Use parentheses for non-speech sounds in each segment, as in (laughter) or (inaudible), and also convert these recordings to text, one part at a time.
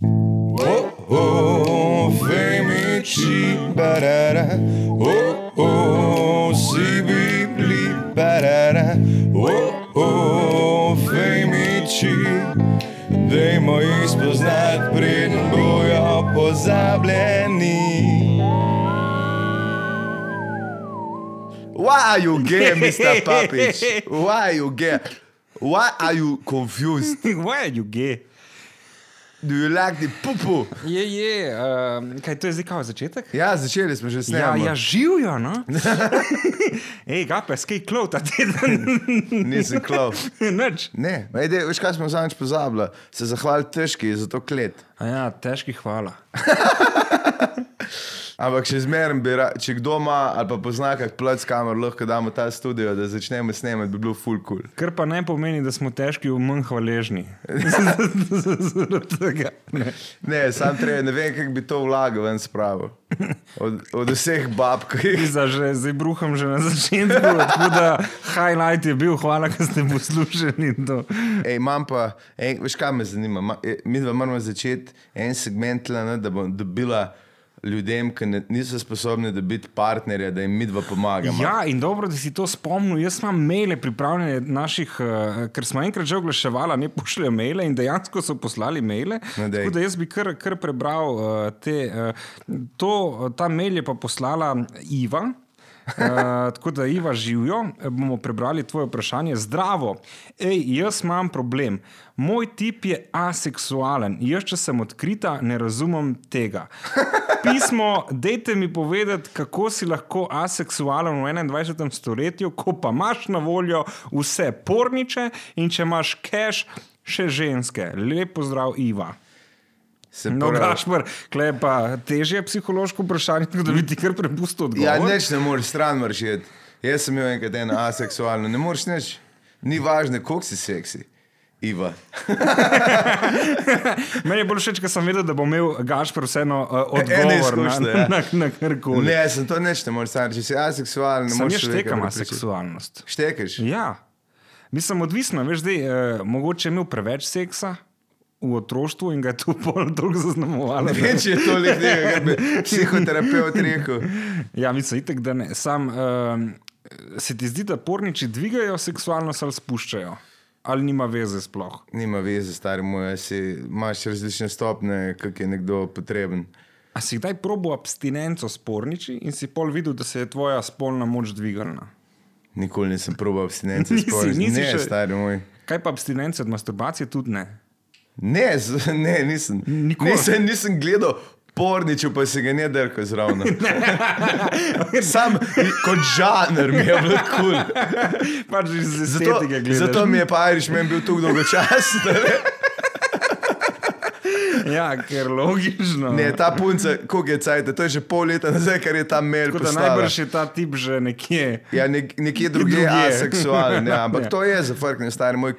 Oh, she barara. Oh oh, si bibli barara. Oh oh, fejmiči. Dajmo jih spoznati, preden bojo pozabljeni. Why are you (laughs) gay, Mr. Papič? Why are you gay? Why are you (laughs) confused? Why are you gay? Do you like the pupu? Je, je, um, kaj to je zdaj kao začetek? Ja, začeli smo že Ja, snemati. ja živijo, no. (laughs) Ej, ga pa, skaj klov ta teden. Nisem klop. (laughs) Nič. Ne, ajde, veš kaj smo zadnjič pozabili? Se zahvaliti težki za to klet. A ja, težki hvala. Ampak še zmeraj bi, ra- če kdo ima ali pa pozna kak plac kamer, lahko damo ta studio, da začnemo snemati, bi bilo full cool. Kar pa ne pomeni, da smo težki v manj (laughs) hvaležni. Zaradi tega. Ne. Ne, sam treba, ne vem, kako bi to vlago ven spravil. Od, od vseh bab, ki jih Za že zdaj bruham že na začetku, tako da highlight je bil, hvala, ker ste poslušali to. Ej, imam pa, ej, veš kaj me zanima, Ma, e, mi dva moramo začeti en segment, tule, ne, da bom dobila ljudem, ki ne, niso sposobni dobiti partnerja, da jim mi dva pomagamo. Ja, in dobro, da si to spomnil. Jaz imam maile pripravljene naših, eh, ker smo enkrat že oglaševali, ne pošljejo maile in dejansko so poslali maile. No, dej. Tako da jaz bi kar, kar prebral eh, te. eh, To, ta mail je pa poslala Iva. uh, (laughs) tako da, Iva, živijo, bomo prebrali tvoje vprašanje. Zdravo, Ej, jaz imam problem. Moj tip je aseksualen, jaz, če sem odkrita, ne razumem tega. Pismo, dajte mi povedati, kako si lahko aseksualen v 21. stoletju, ko pa imaš na voljo vse porniče in če imaš cash, še ženske. Lepo zdrav, Iva. Se No, pravi- Gašpor, klej pa težje psihološko vprašanje, tako da bi ti kar prepustil odgovor. ja neč ne moreš stran vršiti. Jaz sem imel enkrat eno aseksualno, ne moreš nič. Ni važno, koliko si seksi. Iva. Meni je bolj všeč, ker sem vedel, da bo imel Gašpor vseeno uh, ene odgovor izkušnje, na, ja. na, na karkoli. Ne, sem to neč ne moreš stran, če si aseksualen, ne Sam moreš. jaz človeka tekam prepričati. seksualnost. Štekeš? Ja, mislim, odvisno, veš, da je uh, mogoče je imel preveč seksa v otroštvu in ga je to (laughs) bolj dolgo zaznamovalo. da- Več je to ljudi, kar (laughs) bi (laughs) psihoterapeut rekel. Ja, mislim, itek, da ne. Sam, um, se ti zdi, da porniči dvigajo seksualnost ali spuščajo? Ali nima veze sploh? Nima veze, stari moj, a si, imaš različne stopne, kak je nekdo potreben. A si kdaj probo abstinenco sporniči in si pol videl, da se je tvoja spolna moč dvignila? Nikoli nisem probal abstinence (laughs) Nisi, spolnosti. nisi Ne, še- stari moj. Kaj pa abstinenca od masturbacije tudi ne? (laughs) Ne, z, ne nisem. Nikoli. Nisem, nisem gledal porničev, pa se ga ne drka (laughs) zraven. Sam kot žanr mi je bil kul. Cool. Pač iz Zato, estetike gledaš. zato mi je pa Irish men bil tu dolgočasen. (laughs) da ne. (laughs) Ja, ker logično. Ne, ta punca, koliko je cajt, to je že pol leta nazaj, kar je ta mail Tako da poslala. najbrž je ta tip že nekje. Ja, nek, (laughs) nekje drugje je Drugje. aseksualen, ja, ampak Ja. to je zafrknjen, star moj,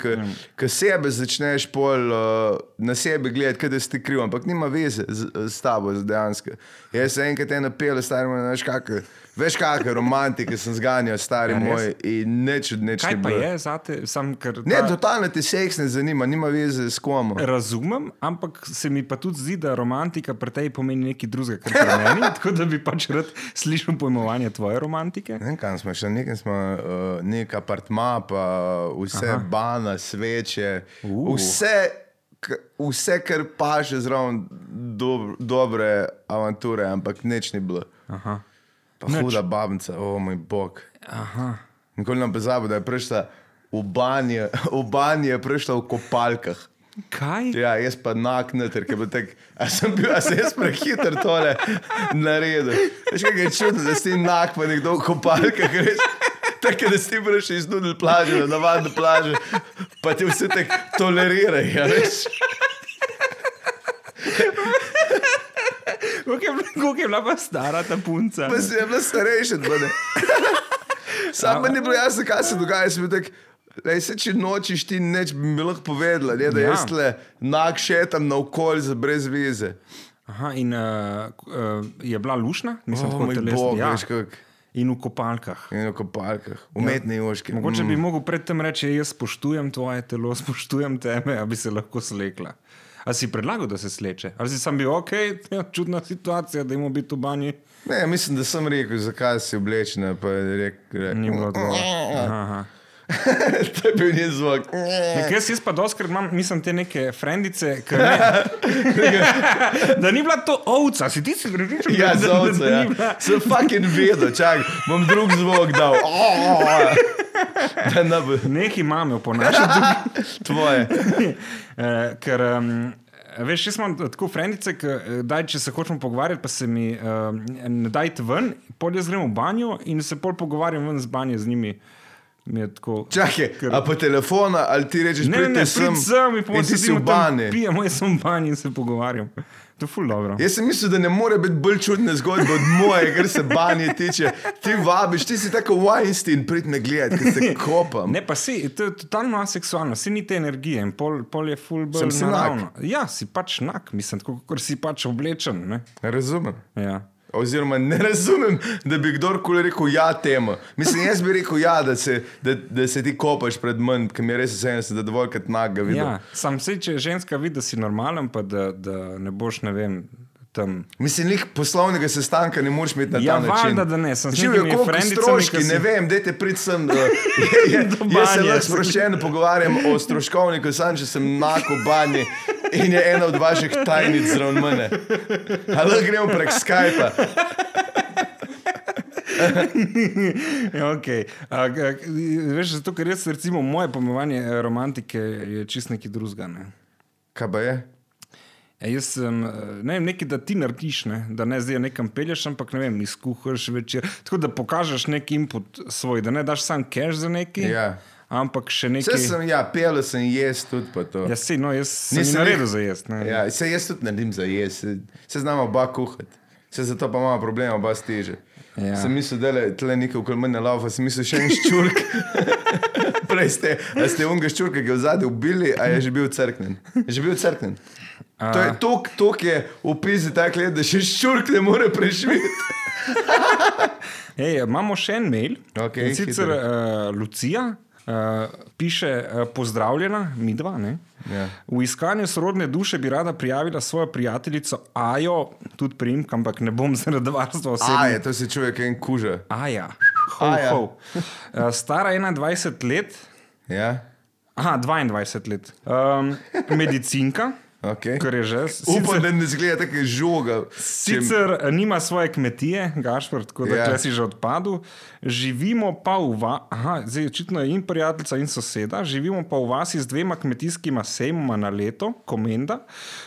ki sebe začneš pol uh, na sebe gledati, kaj da si ti kriv, ampak nima veze z, z tabo, z dejansko. Jaz sem enkrat eno pel, star moj, veš kakšne, veš kakšne romantike sem zganjal, stari Ja, res? moj, in nič od nič Kaj ni pa bilo. je za te, sam ker. Ne, ta- totalno te seks ne zanima, nima veze s kom. Ja. Razumem, ampak se mi pa tudi zdi, da romantika pri tej pomeni nekaj drugega, kot pri (laughs) meni. Tako da bi pač rad slišal pojmovanje tvoje romantike. Ne vem, kam smo šli, nekaj smo, uh, nek apartma, pa vse Aha. bana, sveče, uh. Uh. vse, k- vse, kar paše zraven dob, dobre avanture, ampak nič ni bilo. Aha. Pa huda babnica, o moj bog. Aha. Nikoli ne pozabi, da je prišla v banje, (laughs) v banje je prišla v kopalkah. Kaj? Ja, jaz pa nakniter, ker bi tak, a sem bil, a sem jaz prehiter tole naredil. Veš, kaj je čudno, da si nak, pa nekdo v kopalkah reče. Tako da si prišel iz nudne plaže, na navadno plaže, pa ti vse tako tolerirajo. Ja, veš? Koliko je, bila- koliko je bila pa stara ta punca? pa si je bila starejša, da ne. Sam meni ni bilo jasno, kaj se dogaja. sem bil tak, Lej, se, če nočeš, ti neč bi mi lahko povedala, ne, da Ja. ja. jaz le nak šetam naokol za brez vize. Aha, in uh, uh, je bila lušna, mislim, Oh, tako moj telesna. bog, ja. veš kako. In v kopalkah. Mm. In v kopalkah, umetni ja. joški. Mogoče (laughs) bi mogel predtem reči, jaz spoštujem tvoje telo, spoštujem tebe, a bi se lahko slekla. A A si predlagal, da se sleče? Ali si sam bil, ok, ja, čudna situacija, da imamo biti v banji? Ne, mislim, da sem rekel, zakaj si oblečena. Pa je rekel, Ni bilo odgovora. (laughs) to je bil njen (laughs) zvok. Nekaj jaz, jaz pa doskrat imam, mislim, te neke frendice, ki (laughs) ne, da ni bila to ovca, si ti si pripričal, Ja, da, da, zavce, da, da ja. ni bila. Sem fucking vedel, čak, bom drug zvok (laughs) dal. (laughs) Da ne bo Nekaj imamo po našem tvoje. (laughs) Eh, ker, um, veš, jaz imam tako frendice, da če se hočemo pogovarjati, pa se mi um, ne dajte ven, pol jaz grem v banjo in se pol pogovarjam ven z banje z njimi. Mi je Tako, Čakaj, a po telefonu ali ti rečeš, ne, ne, ne, pridite sem, sem, in in pomoč ti si v bani. Pijemo, jaz sem v banji in se pogovarjam. To je ful dobro. Jaz sem mislil, da ne more biti bolj čudna zgodba od moje, kar se banje tiče. Ti vabiš, ti si tako Weinstein, prid me gledati, ker (laughs) se kopam. Ne, pa si, to je totalno aseksualno, si ni te energije in pol, pol je full Sem bolj si naravno. Ja, si pač nak, mislim, tako kot si pač oblečen. Ne? Ne razumem. Ja. Oziroma, ne razumem, da bi kdorkoli rekel ja temu. Mislim, jaz bi rekel ja, da se, da, da se ti kopaš pred menj, ki mi je res vseeno, da dovoljkrat naga vidim. Ja, sam se, če ženska vidi, da si normalen, pa da, da ne boš, ne vem, (laughs) tam. Mislim, nek poslovnega sestanka ne moreš imeti na Ja, ta način. valjda, da ne. Sem s Živijo nekimi kot frendicami, stroški, ki si- ne vem, dajte prid sem. (laughs) da- je- je- Do Jaz se banje. lahko sproščeno pogovarjam o stroškovniku, sam če sem enako banji in je ena od vaših tajnic zraven mene. Ali lahko gremo prek Skypa? okay. Ja, a, a, veš, zato, ker res, recimo, moje pojmovanje eh, romantike je čist neki druzga. Ne? Kaj pa je? E, jaz sem eh, ne vem, nekaj, da ti narediš, ne? da ne zdaj nekam pelješ, ampak ne vem, izkuhaš večer. Tako da pokažeš neki input svoj, da ne daš sam cash za nekaj, Ja. ampak še Vse nekaj. sem, ja, pel sem jaz tudi pa to. Ja, sej, no, jaz sem Nisem Nisem naredil jih- za jesti. ne. Ja, se jaz tudi naredim za jesti, se, se znamo oba kuhati. Se zato pa imamo problema, oba steže. Ja. Sem mislil, da je tle nekaj okoli mene lava, sem mislil še en ščurk. (laughs) Prej ste, a ste unga ščurka, ki je v zadju ubili, a je že bil crknen. Je že bil crknen. To je tok, tok je upisi tak let, da še ščurk ne more (laughs) prešviti. Ej, imamo še en mail. Okej, In sicer uh, Lucija uh, piše: uh, Pozdravljena, mi dva. Ne? Ja. V iskanju sorodne duše bi rada prijavila svojo prijateljico Ajo, tudi priimk, ampak ne bom zaradi A varstva osebnega. je, to se čuje, kaj en kuža. Aja, ho, Aja. ho. Uh, stara 21 let, Ja, aha, 22 let, um, medicinka, ok. kar je že. Upam, sicer- da ne zgleda tako žoga. Če- Sicer eh, nima svoje kmetije, Gašpor, tako da Ja. yeah. si že odpadel, živimo pa v vasi, aha, zdaj očitno je in prijateljica in soseda, živimo pa v vasi z dvema kmetijskima sejmoma na leto, komenda.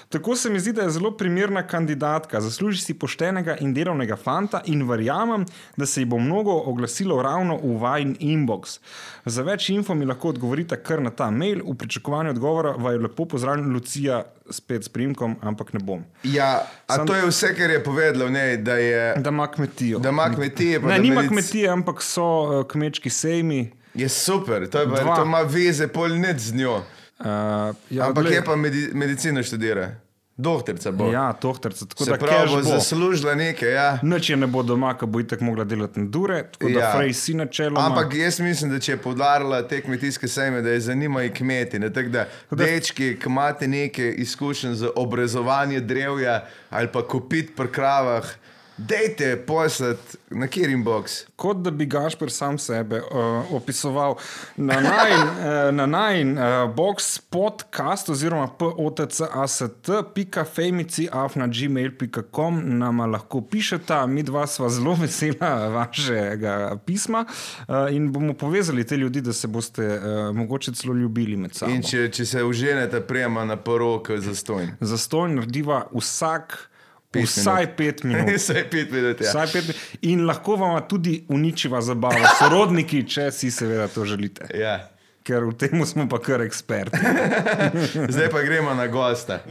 Tako se mi zdi, da je zelo primerna kandidatka, zasluži si poštenega in delovnega fanta in verjamem, da se ji bo mnogo oglasilo ravno v vajen inbox. Za več info mi lahko odgovorite kar na ta mail, v pričakovanju odgovora vaju lepo pozdravljam, Lucija, spet s primkom, ampak ne bom. Ja, a Sam- to je vse, kar je povedala v njej, da je Da ima kmetijo. Da ima kmetije, pa Ne, da nima medic- kmetije, ampak so uh, kmečki sejmi. Je super, to, je pa, Dva. to ima veze pol net z njo. Uh, ja, Ampak glej, je pa medi, medicino študira, doktorica bo. Ja, Ja, tohterca, tako Se da pravi, keš bo bo. zaslužila nekaj. Ja. Noč je ne bo doma, ko bo itek mogla delati na dure, tako da Ja. ja. frej si na čelu. Ampak jaz mislim, da če je podarila te kmetijske sejme, da je zanimajo kmeti. Ne? Tako da, da- dečki, ki imate nekaj izkušenj z obrezovanjem drevja ali pa kopit pri kravah, dejte poslati na Kirin Box. Kot da bi Gašpr sam sebe uh, opisoval na (laughs) najn, uh, na najn uh, box podcast oziroma potcast.femici.afna.gmail.com nama lahko pišeta, mi dva sva zelo (laughs) vesela vašega pisma uh, in bomo povezali te ljudi, da se boste uh, mogoče celo ljubili med sabo. In če, če se uženete, prejema na poroko za stojn. Zato narediva vsak Pet vsaj pet minut. (laughs) Vsaj pet minut. Ja. Vsaj pet minut. In lahko vam tudi uničiva zabava, sorodniki, če si seveda to želite. Ja. Ker v tem smo pa kar eksperti. Zdaj pa gremo na gosta.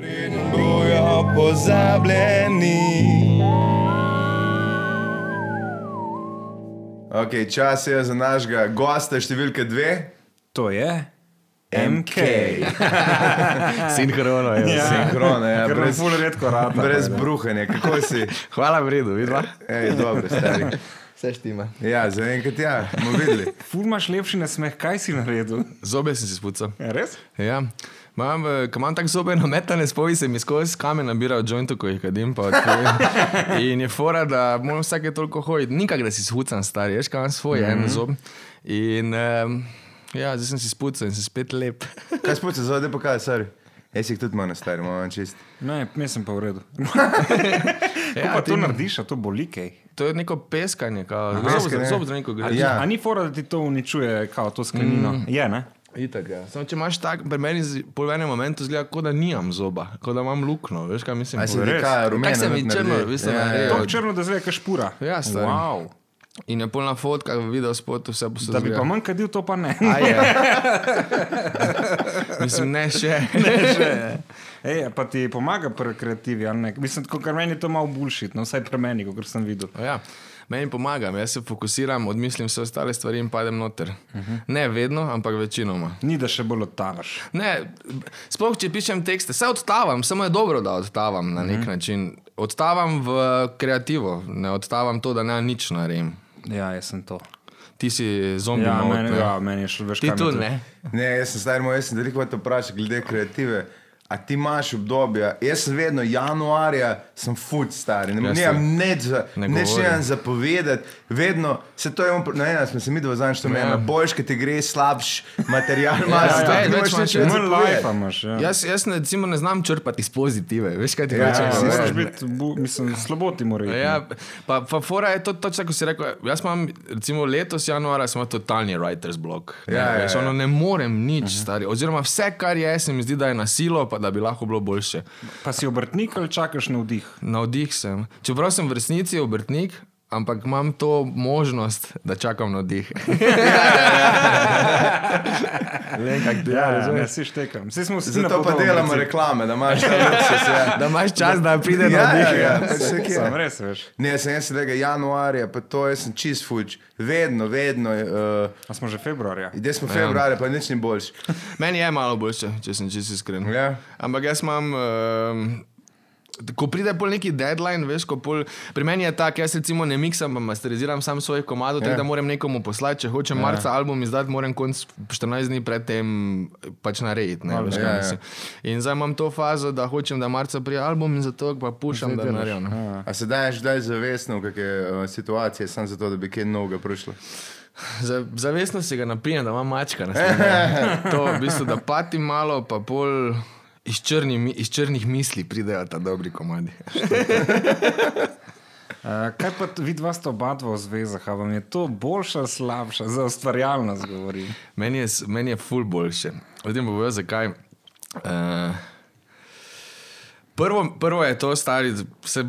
Bojo pozabljeni. Okay, čas je za našega gosta, številka dve. To je MK. Sinhrono je. Ja. Ja. Sinhrona, ja, Ker nam brez- ful redko rata. Brez bruhanja, kako si? Hvala, vredno, vidva. Ej, dobro, stari. Vse štima. Ja, za enkrat ja, bomo videli. Ful imaš lepši nasmeh, kaj si naredil. Zobe sem si spucal. Ja, Res? Ja. Imam, eh, ko imam tako zobe nametane, spoji se mi skozi kamen nabirajo jointov, ko jih kadim. Pa, (laughs) tako. in je fora, da moram vsake toliko hoditi. Nikak, da si shucan star, veš, kaj imam svoj, mm -hmm. Mhm. en zob. In um, ja, zdaj sem si spucal in sem spet lep. (laughs) Kaj spuca, zdaj pokaj, sorry. Jaz jih tudi imam, stari, imam čist. Ne, nisem pa v (laughs) redu. Ko Ja, pa ti to ne. narediš, a to boli kaj. To je neko peskanje, kao, peskanje. zob, zob za neko gre. Ja. A ni fora, da ti to uničuje, kao to sklenino. Mm. Je, ne? Itak, ja. Samo če imaš tak, pri meni z- pol v enem momentu zgleda, kot da nimam zoba, kot da imam luknjo, veš kaj mislim. Aj se Pol- res? dekaja, rumena. Tako se mi not črno, naredi. v bistvu Ja, ja, naredi. ja. Tako črno, da zgleda, kašpura. E, Ja, stari. wow. In je polna fotka, video spotu, vse posod. Da bi pa manj kadil, to pa ne. (laughs) Mislim, ne (laughs) še. Ej, pa ti pomaga pri kreativi, ali ne? Mislim, kot kar meni je to malo bullshit, no vsaj pri meni, kot sem videl. Ja, meni pomaga, jaz se fokusiram, odmislim vse ostale stvari in padem noter. Uh Mhm. -huh. Ne vedno, ampak večinoma. Ni da še bolj odtavaš. Ne, sploh če pišem tekste, se odtavam, samo je dobro, da odtavam na nek Mhm. uh -huh. način. Odtavam v kreativo, ne odtavam to, da ne nič naredim. Ja, jaz sem to. Ti si zombi, Ja, mode, meni, ne? ja, meni je šlo več ti tudi ne. Ne, jaz sem star, moj, jaz sem veliko te vprašal glede kreative. A ti imaš obdobja? Jaz sem vedno januarja, sem fut star, ne Jaz morem nič, za- ne nič govorim. ne zapovedati. Vedno se to je, ne vem, smo se mi dva zanj, što me ena boljš, ki ti gre slabš material, imaš ja, tako, več nimaš nič imaš, več Manj zapovedati. life imaš. Ja. Jaz, jaz ne, recimo, ne znam črpati iz pozitive, veš kaj ti Ja, hočem ja, reči. ja. Moraš ne. biti, bu- mislim, slabo ti mora iti. Ja, pa, pa fora je to točno, kot si rekel. Jaz imam, recimo, letos januarja sem imel totalni writer's blok. Ne, Ja, ja, veš, ja. Mhm. ono, ne morem nič, uh -huh. stari. Oziroma, vse, kar je, se mi zdi, da je nasilo, pa da bi lahko bilo boljše. Pa si obrtnik ali čakaš na vdih? Navdih sem. Čeprav sem v resnici obrtnik, ampak imam to možnost, da čakam na dih. Le, kak dela, Ja, razumeš? ne, si štekam. Vsi smo vsi Zato pa napotovani, delamo recimo. reklame, da (laughs) imaš ta luksus. Ja. da imaš čas, da pride na Ja, ja, dih. ja, pač se kje. Sam res, veš. Ne, jaz sem jaz tega januarja, pa to jaz sem čist fuč. Vedno, vedno. Uh, A smo že februarja. Zdaj smo februarja, pa nič ni boljš. Meni je malo boljše, če sem čisto iskren. Ja. Ampak jaz imam. Um, Ko pride pol neki deadline, veš, ko pol. Pri meni je tako, jaz recimo ne miksam, pa masteriziram sam svojih komadov, Ja. yeah. tako da moram nekomu poslati. Če hočem yeah. marca album izdati, moram konc 14 dni predtem pač narediti. Ne, veš, Ja, ja. yeah, yeah. In zdaj imam to fazo, da hočem, da marca prije album in zato pa pušam, da no. naredim. ne. A se daješ kdaj zavestno, kakšne uh, situacije, samo zato, da bi kaj novega prišlo? Za- Zavestno si ga napijem, da ima mačka na svetu. To v bistvu, da pati malo, pa pol iz, črni, mi- iz črnih misli pridejo ta dobri komadi. Uh, kaj pa t- vidva sta oba dva v zvezah, a vam je to boljša ali slabša? Za ustvarjalnost govorim. Meni je, s- meni je ful boljše. Vidim pa bojo zakaj. Uh, Prvo, prvo je to, stari, vse,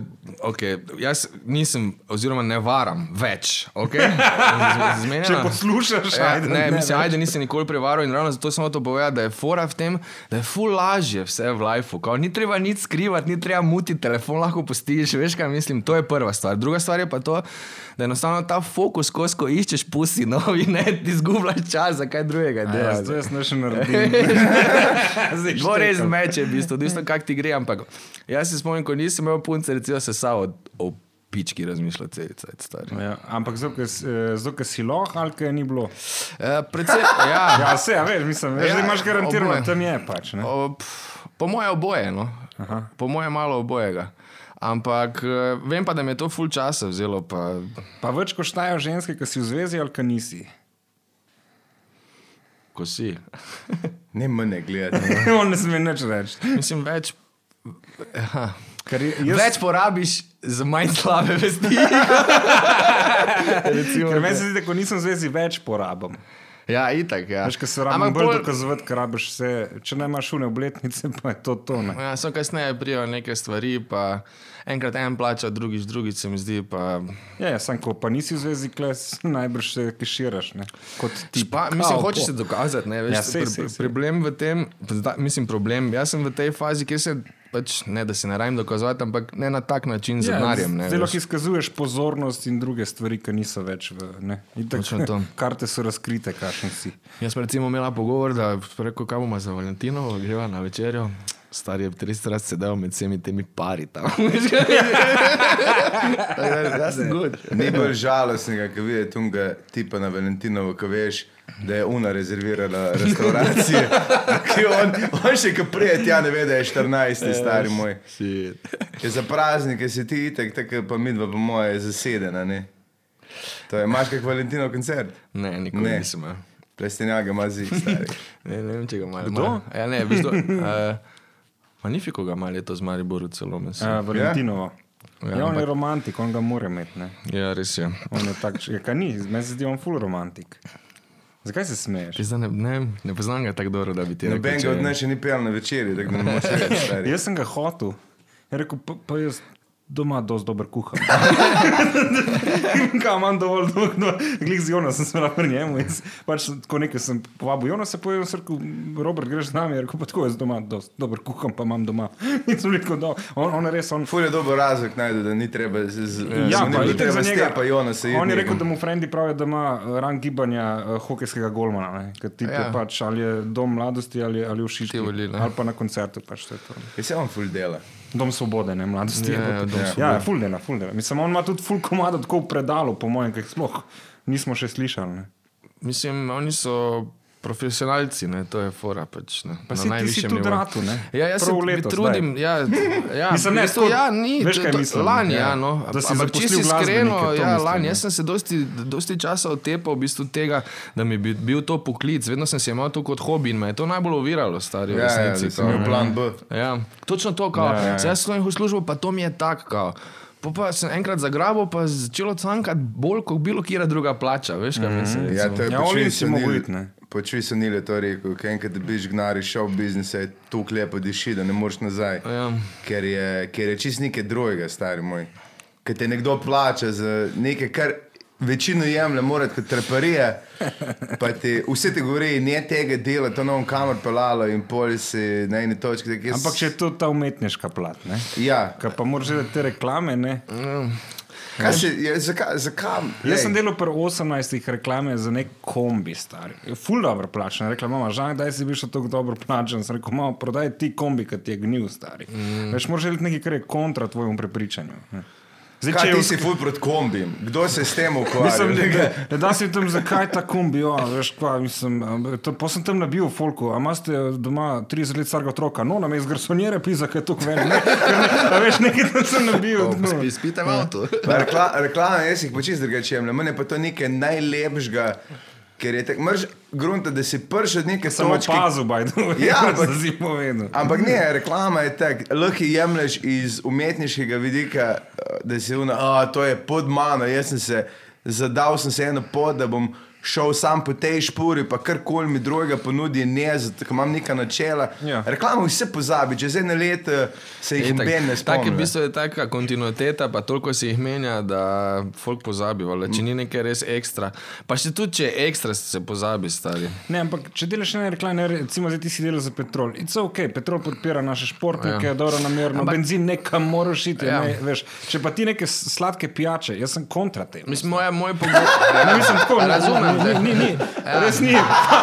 okay, jaz nisem, oziroma ne varam več. Okay? Z- z- zmenjena? Če (laughs) poslušaš, Ja, ajde, ne, ne, mislim, več. ajde, nisi nikoli prevaral in ravno zato samo to povedal, da je fora v tem, da je ful lažje vse v lifeu. Kao, Ni treba nič skrivati, ni treba muti, telefon lahko postiš, veš kaj mislim, to je prva stvar. Druga stvar je pa to, da enostavno ta fokus, skozi ko iščeš pusi, no in ne ti izgubljaš čas za kaj drugega. Ja, delaš. jaz (laughs) to jaz ne še naredim. (laughs) Zdaj Bo res štekam. meče, v bistvu, odvisno kako ti gre, ampak jaz se spomnim, ko nisem imel punce, recimo se samo o pički razmišljal celice. (laughs) Ja, ampak zato, ker si loh ali ker ni bilo. E, predvsem, ja. Ja, vse, ja, veš, mislim, veš, Ja, da imaš garantirano, oboje. tam je pač. Ne? O, pf, po moje oboje, no. po moje malo obojega. Ampak eh, vem pa, da mi je to ful časa vzelo. Pa... Pa več koštajo ženske, ki si v zvezi ali ki nisi. Ko si. Ne, mene gledati. (laughs) On ne sme nič reči. Mislim, več, Ker je- jaz... jaz- več porabiš za manj slabe vesti. (laughs) Recimo, Ker meni se zdi, da ko nisem v zvezi, več porabim. ja, itak. Ja. Veš, ker se rabim bolj dokazovati, ker rabiš vse. Če ne imaš une obletnice, pa je to tone. Ja, so kasneje prijajo neke stvari, pa enkrat en plača, drugič, drugič se mi zdi. Pa... Ja, ja sam ko pa nisi v zvezi, kles, najbrž se kiširaš. Ne? Kot ti. Pa, mislim, hočeš se dokazati. Ne, veš, Ja, ja, sej, sej, sej, sej, sej. sej. Problem v tem, da, mislim, problem. Jaz sem v tej fazi, kjer se pač ne da se ne rajem dokazovati, ampak ne na tak način z denarjem. ne, Ja, Zelo veš. izkazuješ pozornost in druge stvari, ki niso več v. ne. Itak, Točno to. (laughs) Karte so razkrite, kakšen si. Jaz sem recimo imela pogovor, da sem rekel, kaj bomo za Valentinovo, greva na večerjo. Star je 300 let sedel med vsemi temi pari tam. Jaz sem gud. (laughs) Ni bolj žalostnega, ki vidiš tunga tipa na Valentinovo, ki veš, da je Una rezervirala restauracije, ki on, on še ko prije tja ne ve, da je 14, stari moj. Je za praznike si ti itek, tako pa midva po moje je zasedena, ne? To je, imaš kak Valentinov koncert? Ne, nikoli Ne. ne. nisem. imel. Plestenjaga ima zik, stari. Ne, ne vem, če ga imaš. Kdo? Ja, ne, (laughs) bistvo, uh, Magnifiko ga ima letos v Mariboru celo. mislim. Uh, Valentinovo. Ja, ja, on je ampak- romantik, on ga mora imeti. Ne? Ja, res je. On je tak, je kaj ni, meni se zdi on full romantik. Zakaj se smeješ? Pizda, ne, ne, ne poznam ga tako dobro, da bi ti rekel. Noben če- ga od nas še ni pel na večerji, tako da ne moreš reči, stari. Jaz sem ga hotel. Je rekel, pa, pa jaz doma dosti dober (laughs) kuham. Kaj imam dovolj dolgo, glej z Jonasom sem bila pri njemu. in s- Pač tako nekaj sem povabil Jonasa, pa je rekel, Robert, greš z nami. Je rekel, pa tako jaz doma dosti dober kuham, pa imam doma. (laughs) In sem rekel, da on, on je res, on Ful je dober razlog najdu, da ni treba z, z, z, Ja, pa ni bilo itak za treba njega. stepa Jona se On je rekel, da mu frendi pravijo, da ima eh, rang gibanja uh, hokejskega golmana, ne, ker ti ja. Ja. pač ali je dom mladosti ali, ali v Šiški Tivoli, ne. ali pa na koncertu pač to je to. Je Ja, se on ful dela. Dom svobode, ne mladosti. Ja, je ja, bilo to. Dom ja, ja ful dela, ful dela. Mislim, on ima tudi ful komado tako v predalu, po mojem, ker jih sploh nismo še slišali. Ne. Mislim, oni so profesionalci, ne? to je fora. Pač, ne? Pa Na si, ti si najvišjem tudi nivoju. ratu, ne? Ja, jaz se Prav leto, letos, trudim. Ja, ja, Mislim, ne, v bistvu tako, ja, ni, veš, kaj to- mislim, Lani, ja. ja, no. Da si ampak zaposlil čisto glasbenike, iskreno, to ja, mislim, lani, ja. jaz sem se dosti, dosti časa otepal v bistvu tega, da mi je bil, bil to poklic. Vedno sem si imel to kot hobi in me je to najbolj oviralo, stari. v Ja, ja, resnici, da sem kao, imel ne. plan B. Ja, točno to, kao. Ja, ja, ja. Zdaj sem jih v službo, pa to mi je tako, kao. Pa, pa sem enkrat zagrabil, pa začelo cankati bolj kot bilo kjera druga plača, veš kaj mm -hmm. mislim. Ja, to je Ja, počuj Olin si Sunil- mogel iti, ne. Počuj se nile to rekel, ker enkrat biš gnari šov biznisa, je tu klepo diši, da ne moreš nazaj. Ja. Ker je, ker je čist nekaj drugega, stari moj. Ker te nekdo plača za nekaj, kar večino jemlje, mora kot treparija. Pa ti vse te govori, ne tega dela, to novom kamer pelalo in pol si na eni točki. tako jaz- Ampak če je to ta umetniška plat, ne? Ja, Kaj pa moraš gledati te reklame, ne? Mm. kaj se, je, zakaj, zakaj? Jaz sem delal pri 18 reklame za nek kombi, star. Ful dobro plačen. Rekla, mama, žan, kdaj si bil še tako dobro plačen? Sem rekel, mama, prodaj ti kombi, ki ti je gnil, star. Mm. Veš, moraš želiti nekaj, kar je kontra tvojemu prepričanju. Zdaj, Kaj če ti je si vse. ful pred kombijem? Kdo se je s tem ukvarjal? Mislim, da, da, da si tam, zakaj ta kombi, jo, veš, kva, mislim, a, to, pa sem tam nabil v folku, a imaš eh, doma 30 let starega otroka, no, nam je iz garsonjere pisa, kaj je to kveni, ne, (laughs) a veš, nekaj tam sem nabil. no. tako. Spite v avtu. (laughs) Pa Rekla, reklame, jaz jih počist drugače jemljem. Mene pa to nekaj najlepšega, ker je tako mrš grunta, da si prš od neke Sem samočke. opazil, bajdo, (laughs) Ja, ampak- da si povedal. Ampak ne, reklama je tak, lahko jemliš iz umetniškega vidika, eh, da si una, a to je pod mano, jaz sem se zadal, sem se eno pot, da bom šel sam po tej špuri, pa karkoli mi drugega ponudi, ne, zato ker imam neka načela. Ja. Reklama vse pozabi, čez eno leto se jih noben ne Tako je v spomni. bistvu je taka kontinuiteta, pa toliko se jih menja, da folk pozabi, vale. če ni nekaj res ekstra. Pa še tudi, če je ekstra, se pozabi, stari. Ne, ampak če delaš na reklame, recimo, zdaj ti si delal za petrol. It's ok, petrol podpira naše športnike, ja. dobro namerno, ampak... benzin nekam moraš iti. Ja. Ja. Ne, veš. če pa ti neke s- sladke pijače, jaz sem kontra tem. Mislim, moja, (laughs) moj pogled. Ja, Ne, mislim, tako, ne, Razumem Ne, te. ni, ni, ni. Ja. Res ni.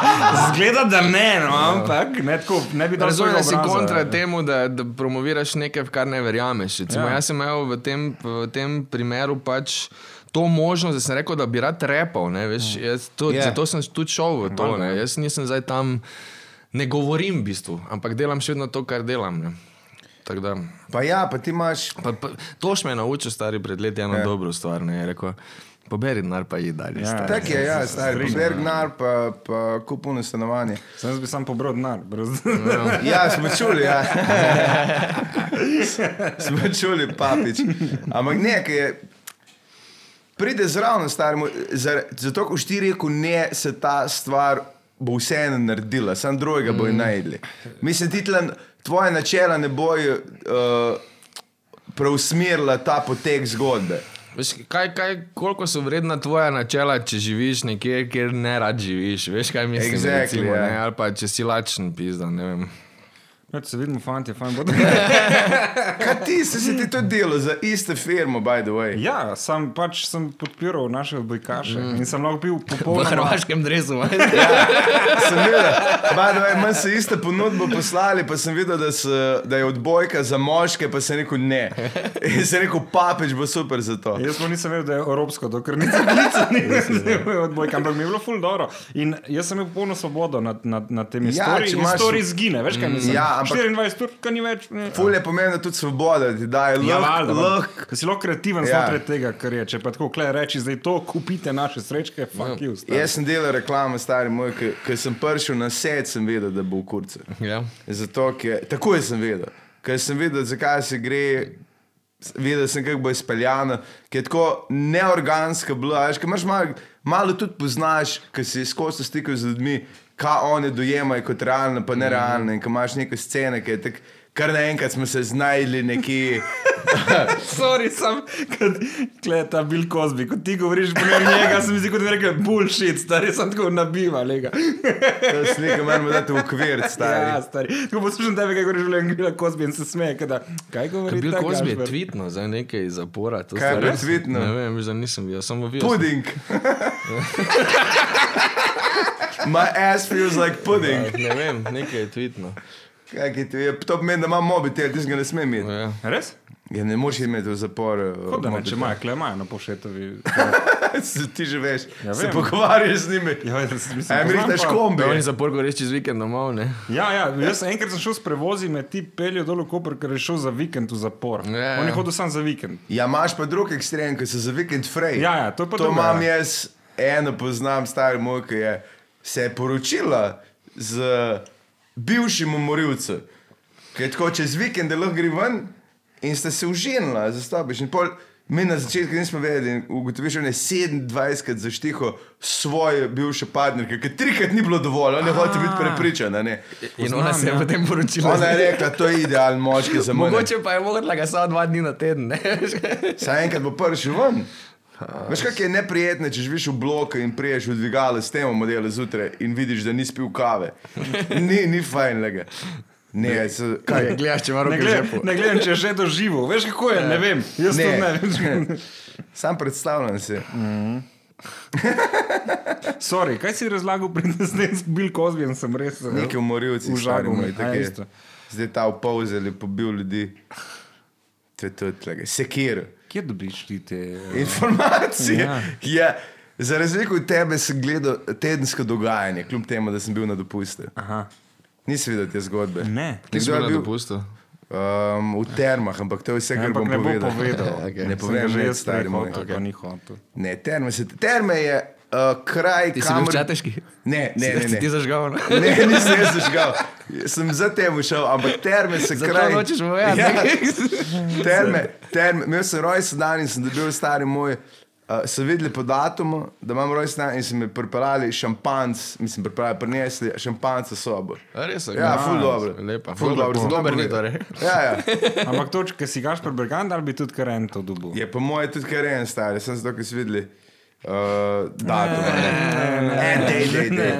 (laughs) Zgleda, da ne, no, ampak ne, tako, ne bi dal Razumem, da si svojega obraza. ja. kontra temu, da, da promoviraš nekaj, v kar ne verjameš. Recimo, Ja. ja. Jaz sem imel v tem, v tem primeru pač to možnost, da sem rekel, da bi rad repal. ne, Veš, jaz tudi, Ja. yeah. Zato sem tudi šel v to. Ne. Jaz nisem zdaj tam, ne govorim v bistvu, ampak delam še vedno to, kar delam. Ne. Tako da. Pa ja, pa ti imaš. Pa, pa, toš me je naučil, stari pred leti, eno ja. dobro stvar. Ne, je rekel, poberi denar, pa ji dalje. Ja. Ja. Tak je, ja, stari, Bergnar pa, pa kupuno stanovanje. Sem jaz bi sam pobral denar. brez- (laughs) Ja, smo čuli, ja. (laughs) smo čuli, papič. Ampak nekaj je. Pride zraven staremu, zar- zato ko ti reko ne, se ta stvar bo vseeno naredila, sam drugega bojo najdli. Mislim, ti tlen, tvoje načela ne bojo uh, preusmerila ta potek zgodbe. Veš, kaj, kaj, koliko so vredna tvoja načela, če živiš nekje, kjer ne rad živiš? Veš, kaj mislim? Exactly, recimo, ja. ne? Ali pa če si lačen, pizda, ne vem. Ja, se vidimo, fanti, fajn bo. Kaj ti si, si ti to delo za isto firmo, by the way? Ja, sam pač sem podpiral naše odbojkaše mm. in sem lahko bil V popolnoma. hrvaškem dresu. Sem videl, by the way, meni se iste ponudbo poslali, pa sem videl, da, se, da je odbojka za moške, pa sem rekel ne. In sem rekel, papeč bo super za to. Jaz pa nisem vedel, da je evropsko, dokler nisem (laughs) klical, nisem znal odbojka, ampak mi je bilo ful dobro. In jaz sem imel polno svobodo nad, nad, nad temi Ja, ja, Mm, story, če in imaš- story zgine, veš kaj mislim? Ja, ampak- 24 turka ni več. Ne. Ful je pomembno tudi svoboda, da ti daje Ja, lahko. valjda, no. lahko- Ko si lahko kreativen Ja. znotraj tega, kar je. Če pa tako kle reči, zdaj to kupite naše srečke, fuck Ja. you. stari. Jaz sem delal reklamo, stari moj, ker sem prišel na set, sem vedel, da bo v kurcu. (laughs) Ja. Zato, ker takoj sem vedel, ker sem videl, zakaj se gre. s- Videl sem, kako bo izpeljano, ki je tako neorgansko bilo. a Veš, ker imaš malo, malo tudi poznaš, ker si skozi stikal z ljudmi, kaj oni dojemajo kot realno, pa nerealno. In ko imaš neke scene, ki je tako, kar naenkrat smo se znajdli nekje. Sorry, sem kot kleta Bill Cosby. Ko ti govoriš primer njega, sem si kot da bi rekel bullshit, stari sem tako nabiva, lega. To sliko moramo dati v okvir, stari. Ja, stari. Tako poslušam tebe, kaj govoriš o Bill Cosby in se smeje, kada, kaj govoriš? Bil Kozbi je tvitno za nekaj iz zapora. to Kaj je zdaj bilo res- tweetno? Ne vem, že nisem videl, samo videl. sem- Pudding. (laughs) My ass feels like pudding. Ne vem, nekaj je no. tvitno. Kaj je to? Je- To pomeni, da imam mobitel, ti ga ne smem imeti. Ja. Res? Ja, ne moreš imeti v zaporu. Kot da ne, če imajo, kle imajo na (laughs) pošetovi. Se (laughs) ti že veš, ja, Ja, se vem. pogovarjaš z njimi. Ja, jaz mislim, A jim poznam rihtaš pa- kombi. Da oni zapor gre čez vikend domov, ne? Ja, ja, jaz enkrat sem šel s prevozi, me ti peljo dol v Koper, ker je šel za vikend v zapor. Ja, ja. On je hodil sam za vikend. Ja, imaš pa drug ekstrem, ki se za vikend frej. Ja, ja, to je pa To druga, imam ja. jaz, eno poznam, stari moj, ki je se je poročila z bivšim umorilcem. Ki je tako čez vikend, da lahko gre ven in sta se užinila, zastopiš. In pol mi na začetku nismo vedeli, in ugotoviš, da je 27krat zaštiho svoje bivše partnerke, ki trikrat ni bilo dovolj, ona je hoče biti prepričana. Ne? In ona se je ja. potem poročila. Ona je rekla, to je idealen moški za mene. Mogoče pa je mogla ga samo dva dni na teden, ne? Saj enkrat bo prišel ven. Veš, kako je neprijetno, če živiš v bloku in priješ v dvigale s tem modelom zjutraj in vidiš, da nisi pil kave. Ni, ni fajn, lega. Ne, se, kaj je? Gledaš, če ima Ne roke v gledam, žepu. ne gledam, če je že doživel. Veš, kako je, ne vem. Jaz ne. Ne. to ne vem. Sam predstavljam se. Sorry, kaj si razlagal pri nas, ne s Bill Cosbyjem sem res. eh, Neki umorilci, V žaru stari me, moji, a, taki. isto. Zdaj ta opolzel je pobil ljudi. To je tudi, lega. Sekir. Kje dobiš ti te? eh, Informacije. Ja. Ja. Ja, za razliko od tebe sem gledal tedensko dogajanje, kljub temu, da sem bil na dopustu. Aha, Nisi videl te zgodbe. eh? ne. Ti si Nekdo je bila bil- dopustil. Um, v termah, ampak to je vse, kar Ampak bom ne bo povedal. (laughs) povedal. Okej. Ne Sem povem, ga že že jaz stari stari moj. hotel, pa ni hotel. Ne, terme, se, terme je uh, kraj, Ti si bil kamor... v čateški? Ne, ne, ne. Si ti ne. zažgal, ne? Ne, (laughs) nisem jaz zažgal. Sem za tem šel, ampak terme se Zato kraj. nočeš povedati, Ja, ne? (laughs) terme, terme. Imel sem rojsten dan in sem dobil stari moj. Uh, so videli po datumu, da imam rojsten dan in so mi pripeljali šampanc, mislim, pripeljali, prinesli šampanc v sobo. A res je? Ja, Nice. ful dobro. Lepa. Ful dobro, sem Dober to ni povedal. torej. Ja, (laughs) ja. Ampak to, če si gaš pri Bergant, ali bi tudi Karen to dobil? Je po mojem tudi kar en star, sem zato, ker si videl. Uh, datum. En, dej, dej, dej.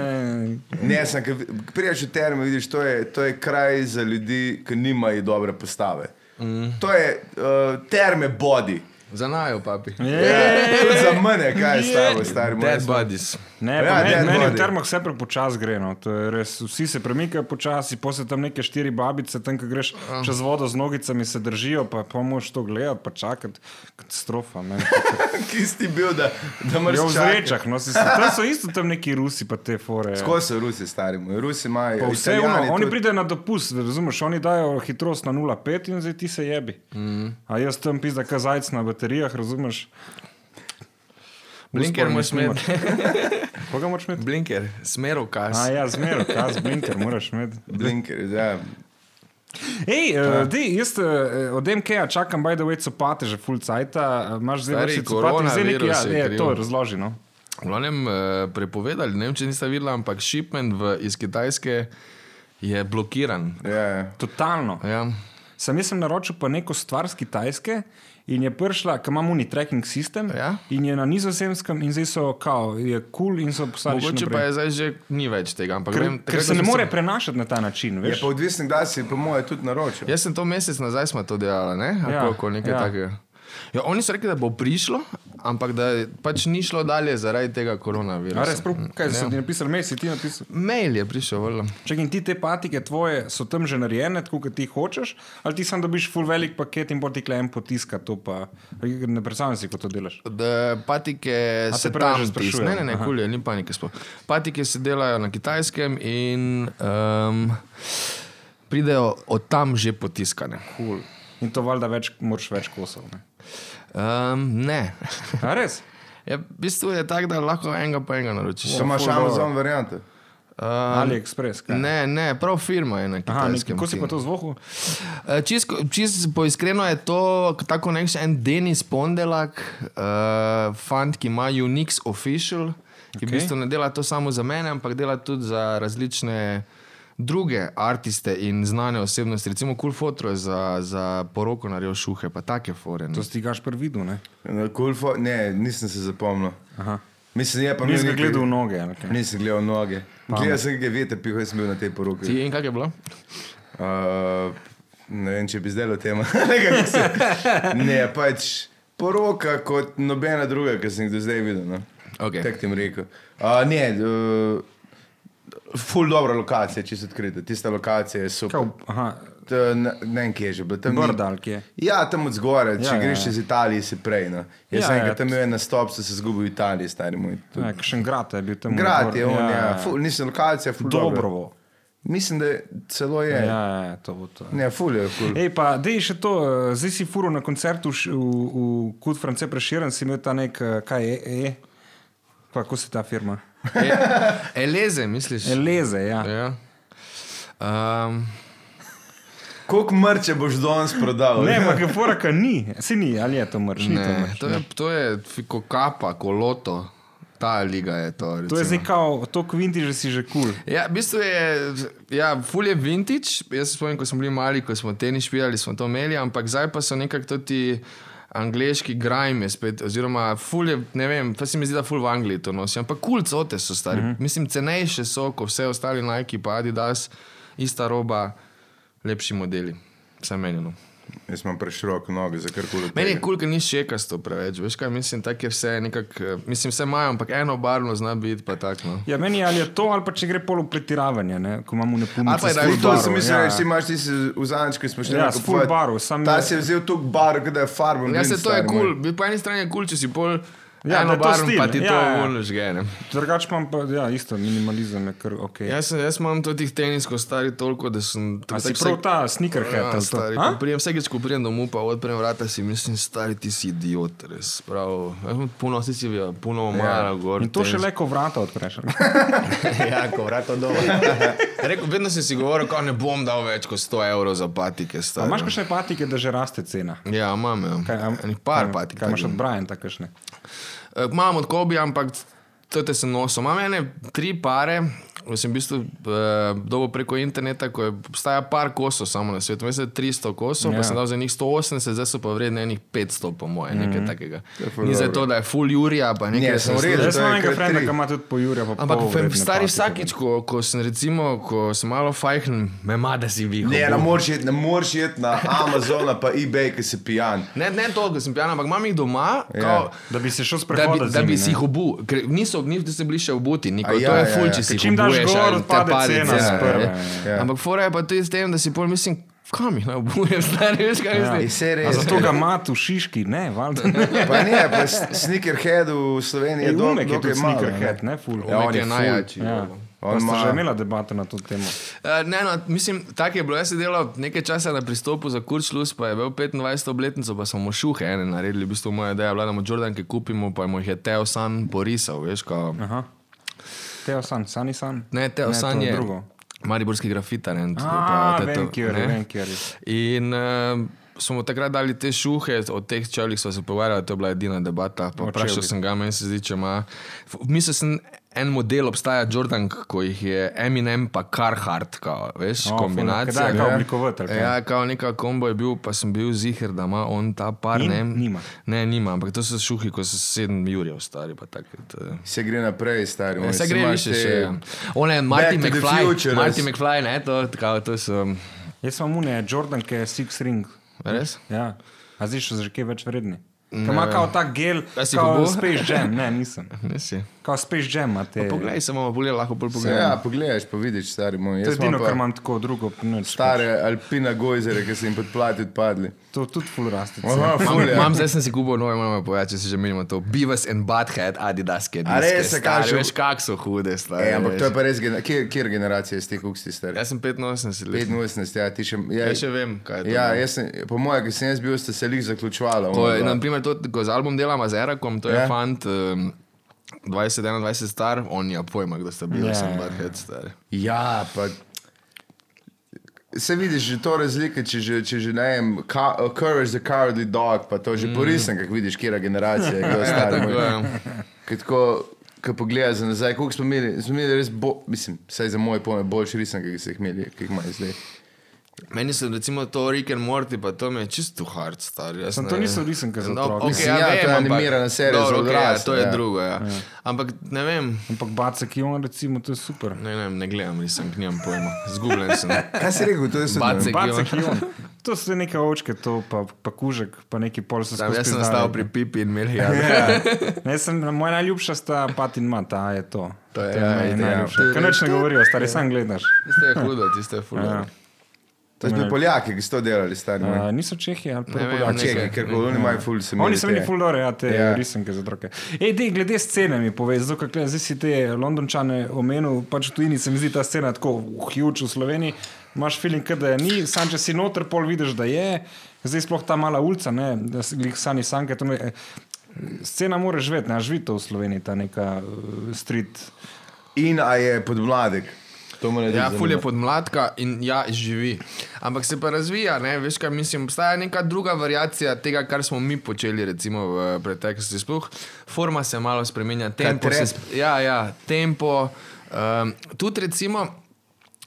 Ne, sem, ko priješ v terme, vidiš, to je, to je kraj za ljudi, ki nimajo dobre postave. Mm. To je uh, terme body. Za najo, papi. Ja. Yeah. Tudi za mene, kaj je staro, stari moj. Dead bodies. Ne, Ja, ja, dead meni, meni body. v termah vse prepočasi gre. No. to je Res, vsi se premikajo počasi, posebej tam neke štiri babice, tam, ko greš Ja. čez vodo z nogicami, se držijo, pa, pa moš to gledati, pa čakati. Katastrofa. (laughs) ne. (laughs) Ki si ti bil, da, da Ja, v mrš čakati. zrečah, no, si, tam so isto tam neki Rusi, pa te fore. ja. Tako so Rusi, stari moj. Rusi imajo. Pa Vse Italijani ono, oni tudi. pridejo na dopust, razumeš, oni dajo hitrost na 0,5 in zdaj ti se jebi. Mhm. Mm. A jaz tam pizda kazajc na baterijah, razumeš? Blinker Usporednic moraš imeti. nimaš. Koga moraš imeti? (laughs) Blinker, smerovkaz. A ja, zmeraj, kaz, blinker, moraš imeti. Blinker, ja. Hej, uh, dej, jaz uh, od MK-ja čakam, by the way, copate že full cajt, imaš zdaj Stari, več copate, zdaj nekaj, ja, koronavirus je ne, kriv. to razloži, no. V glavnem eh, prepovedali, ne vem, če niste videli, ampak shipment v, iz Kitajske je blokiran. ja. Totalno. Ja. Sam jaz sem naročil pa neko stvar z Kitajske in je prišla, ker imamo ni tracking sistem Ja. in je na nizozemskem in zdaj so kao, je kul cool in so poslali še Mogoče pa naprej. je zdaj že ni več tega, ampak Ker, vem, ker takrat se ne sem- more prenašati na ta način, Je veš? pa odvisno, kdaj si, po mojem, tudi naročil. Jaz sem to mesec nazaj smo to delali, ne? Ja, Ako, ja, nekaj ja. ja. takega. Ja, oni so rekli, da bo prišlo, ampak da je pač ni šlo dalje zaradi tega A res, koronavirusa. Mm. prav, kaj Ja. so ti napisali, mesi ti napisali. Mail je prišel, vrlo. Če in ti te patike tvoje so tam že narejene, tako kot ti jih hočeš, ali ti sam dobiš full velik paket in bo ti klem potiska, to pa ne predstavljam si, kako to delaš. Patike A se te pravi, tam že sprašujem? sprašujejo. Ne, ne, ne Aha. kulje, ni panike. Sploh. Patike se delajo na kitajskem in um, pridejo od tam že potiskane. Cool. In to valjda več, moraš več kosov. Ne? Um, ne. (laughs) (laughs) A res? Ja, v bistvu je tako, da lahko enega po enega naročiš. Če imaš ful Amazon variante. Um, Ali ekspres? ne, ne, prav firma je Aha, nekaj, na kitajskem. kako si pa to zvohu? Eh, Čisto čist poiskreno je to, tako nek še en Denis Pondelak, uh, fant, ki ima Unix Official, ki okay. v Okej. bistvu ne dela to samo za mene, ampak dela tudi za različne druge umetnike in znane osebnosti. Recimo Kul cool Fotro je za, za poroko narejo šuhe, pa take fore. ne. To stigaš prvi vidu, ne? Na Kulfo, ne, nisem se zapomnil. Aha. Mislim, je pa Nisem imel ga nekaj- gledal v noge. ali kaj? Nisem gledal noge. Gledal sem, kaj vete, pihaj sem bil na tej poroki. Ti in kak je bilo? Uh, ne vem, če bi zdaj o tem. (laughs) Ne, kako se- ne, pač poroka kot nobena druga, ki sem jih do zdaj videl. No. Okay. Tako ti jim rekel. Uh, ne, uh, ful dobra lokacija, čisto odkrita. Tista lokacija je super. Kaj, v- aha, Ta, ne, ne vem, kje je že bilo. Tam ni- Brda ali kje? Ja, tam od zgoraj, če Ja, ja, ja, greš ja. ja. iz Italije, si prej. No. Jaz Ja, sem ja, enkrat tam imel en nastop, sem se izgubil v Italiji, stari moj. Tu- Ja, kakšen grad je bil tam. Grad je gor. on, ja, ja. Ful, nisem lokacija, ful dobra. Dobrovo. Mislim, da je- celo je. Ja, Ja. ja, ja, to bo to. Ne, ful je, ful. Ej, pa, dej še to, eh, zdaj si furo na koncertu š- v, v Kud France preširen, si imel ta nek, eh, kaj je, e, pa kako se ta firma? E, eleze, misliš? Eleze, ja. ja. um, Koliko mrče boš danes prodal? Ne, ampak je fura, ka ni, si ni, ali je to mrš, ni to ne, mrš. to je, to je fiko kapa, koloto. Ta liga je to. To je recimo. zdaj kao, to kvinti že si že kul. Cool. Ja, v bistvu je, ja, ful je vintage. Jaz se spomnim, ko smo bili mali, ko smo tenis špijali, smo to imeli, ampak zdaj pa so nekako to ti angliški grime je spet, oziroma ful je, ne vem, pa se mi zdi, da ful v Angliji to nosi, ampak kul cool cote so stari. Mm -hmm. Mislim, cenejše so, kot vse ostali Nike, pa Adidas, ista roba, lepši modeli. Vse meni. No. Jaz imam preširok noge za karkoli. Meni je kul, ker ni šekasto preveč, veš kaj, mislim, tako je vse nekako, eh, mislim, vse imajo, ampak eno barvno zna biti, pa tako. No. Ja, meni je ali je to, ali pa če gre polo pretiravanje, ne, ko imamo nepumno. Ali pa je da- To sem barv, mislil, ja. da si imaš tisti vzanič, ki smo šli Ja, na s kupovati. full barv, sam Ta je- si je vzel toliko barv, da je farben. Ja, blind, se to je stari kul, moj. cool. po eni strani je kul, cool, če si pol. da je Ja, eno to barvo, stil, pa ti ja, to ja. voliš, gene. Drugač imam pa, ja, isto, minimalizem je kar ok. Ja, Jaz, sem- jaz imam tudi teh teniskov starih toliko, da sem A tako si tako prav ta sneaker hat, Ja, ali to? stari, A? ko prijem, vsakeč, ko prijem domov, pa odprem vrata, si mislim, stari ti si idiot, res. Prav, jaz imam puno si si videl, puno omara ja. gor. In to še tenis- le, ko vrata (laughs) odpreš. ja, ko vrata dol. (laughs) Rekel, vedno sem si govoril, ko ne bom dal več kot 100 evrov za patike. A Stari. Imaš kakšne patike, da že raste cena? Ja, imam. Ja. Kaj, am- Enih par kaj- patik. Kaj imaš takih. od Brian, takšne? Eh, Imam od Kobi, ampak to te sem nosil. Imam ene tri pare, ko sem v bistvu eh, dobil preko interneta, ko je obstaja par kosov samo na svetu. Mislim, da je 300 kosov, Ja. pa sem dal za njih 180, zdaj so pa vredne enih 500, po moje, mm Mhm. -hmm. nekaj takega. ful Ni dobro. zato, da je full Jurija, pa nekaj. Ne, sem sem v redu. Jaz to imam je enega kar frenda, tri. ki ima tudi po Jurju. pa Ampak pol fe- vredne stari pač patike. vsakič, ko, ko sem recimo, ko sem malo fajhn, me ima, da si vi. Ne, ne moreš iti, ne moreš iti na Amazon, pa eBay, ki si pijan. Ne, ne toliko, da sem pijan, ampak imam jih doma. Ja. Yeah. Kao, Da bi se šel Da sprehoditi. bi, da z njimi, bi si ne. jih obul, ker niso, niso bili še obuti, A nikoli. ja, Ja, to je ja, ful, ja. če si Ker jih čim daš obuješ, gor, ali te odpade palice, cena ja, sprva, ja. ja. Ampak fora je pa tudi s tem, da si pol mislim, kam jih naj obujem, (laughs) stari, veš kaj Ja. mislim. Se A res. (laughs) zato ga ima tu šiški, ne, (laughs) valjda. ne. (laughs) Pa ne, pa sneakerhead v Sloveniji Ej, je dol- Umek je dokaj tudi malo, sneaker hat, ne, ful. Ja, on Umek je je ful. najjačji. Ja. On Pa sta ima- že imela debato na to temo. Uh, ne, no, mislim, tako je bilo. Jaz sem delal nekaj časa na pristopu za Kurčlus, pa je bil 25. obletnico, pa smo šuhe ene naredili. V bistvu moja ideja je bila, da mu Jordanke kupimo, pa mu jih je Teo San porisal, veš, kao. Aha. Teo san, sani san. Ne, Teo San Ja. to je Drugo. mariborski grafitar. ne, A, pa vem, teto- kjer je, ne. vem, kjer je. In uh, smo takrat dali te šuhe, od teh No, čevljih smo se pogovarjali, to je bila edina debata. Pa Vprašal čevljih. sem ga, meni se zdi, če ima. f- Mislil sem En model obstaja Jordan, ko jih je Eminem pa Carhartt, kao, veš, O, No, oh, ful, kombinacija. kdaj je kao ja. oblikovatelj, kaj? Ja, kao neka kombo je bil, pa sem bil zihar, da ima on ta par, Nim- ne? nima. Ne, nima, ampak to so šuhi, ko so sedem jurjev stari, pa tako. to je- Se gre naprej, stari. moj, Ja, Se saj gre imaš više te- še. ja. One, Martin Back to the McFly, Future, Martin res. McFly, ne, to, kao, to so, Jaz sem une, Jordan, ki je Six Ring. res? Ja. A zdaj še za kaj več vredni? Kaj ima kao ta gel, A si kao kubil? Space Jam, ne, (laughs) nisem. Ne si. Kao Space Jam ima te. Poglej, samo bolje lahko bolj Saj pogledam. Ja, pogledaš, pa vidiš, stari moj. To Jaz je edino, imam kar pa imam tako drugo. Nič, stare alpina gojzere, ki so jim podplati odpadli. To tudi ful raste. Aha, Mam, fulje. mam, zdaj sem si kupil nove, moram povedati, če si že menimo to. Beavis and Butthead, Adidas, ki je A res, kaj že- Veš, kak so hude stvari. Ej, ampak to je pa res, gena- kje, kjer generacija si ti, kako si star? Jaz sem 85 let. 85, ja, ti še. Ja, Jaz Ja, še vem, kaj je to. no. ja, jaz sem, po mojem, ki sem jaz bil, ste se lih zaključvala. To ona je, dva. naprimer, to, ko z album delam z Erakom, to je Ja. yeah. fant um, 21, 21 star, on je pojma, kdo sta bila, Ja, yeah, sem ja, Butthead star. Ja, pa. Se vidiš že to razlike, če že, če že ne vem, ka, uh, Courage the Cowardly Dog, pa to že mm. porisen, kako vidiš, kera generacija je bila Ja, stara. tako je. Ko tako, ko pogledaš za nazaj, koliko smo imeli, smo imeli res, bo, mislim, vsaj za moje pojme, boljši risen, ki so jih imeli, ki jih imajo zdaj. Meni se recimo to Rick and Morty, pa to mi je čisto hard star. jaz Samo ne to vem. No, niso risanke za otroke. okej, Mislim, ja, to je vem, ampak- animirana serija Dobro, za okej, ja, odrasle, To je ja. drugo, ja. Ampak ne vem. Ampak bacek je on, recimo, to je super. Ne, ne, ne gledam, nisem k njemu pojma. Zgubljen (laughs) sem. Ja, Kaj si rekel, to je Bacek. Bacek je on. To so neke očke, to pa, pa kužek, pa neki pol so Sam, skupaj. jaz sem nastal pri Pipi in ja, Milhijadu. Ne, sem, moja najljubša sta Pat in Mata, je to. To je, to je ja, meni ja. najljubša. Kaj neč ne govorijo, stari, sam gledaš. Tisto je hudo, tisto je fulano. Ja. To so bili Poljaki, ki so to delali, stari. Uh, Uh, niso Čehi ali pa Ja. Ne vem, Poljaki. nekaj. Čeki, ker oni imajo ful se. Oni so bili fulore, ja, te Ja. ja. risanke za otroke. Ej, dej, glede scene mi povej, zato ker tle- zdaj si te londončane omenil, pač v tujini se mi zdi ta scena tako uh, huge v Sloveniji, imaš feeling, kot da je ni, sam če si noter, pol vidiš, da je, zdaj sploh ta mala ulica, ne, da si glih sani sanke. To me, eh, scena mora živeti, ne, a živi to v Sloveniji, ta neka eh, street. In a je podmladek. To mora Ja, ful je podmladka in ja, živi. Ampak se pa razvija, ne? veš kaj mislim. Obstaja neka druga variacija tega, kar smo mi počeli recimo v preteklosti. Sploh forma se malo spremenja, tempo. Se, trap? sp- ja, ja, tempo. Um, tudi recimo. (laughs)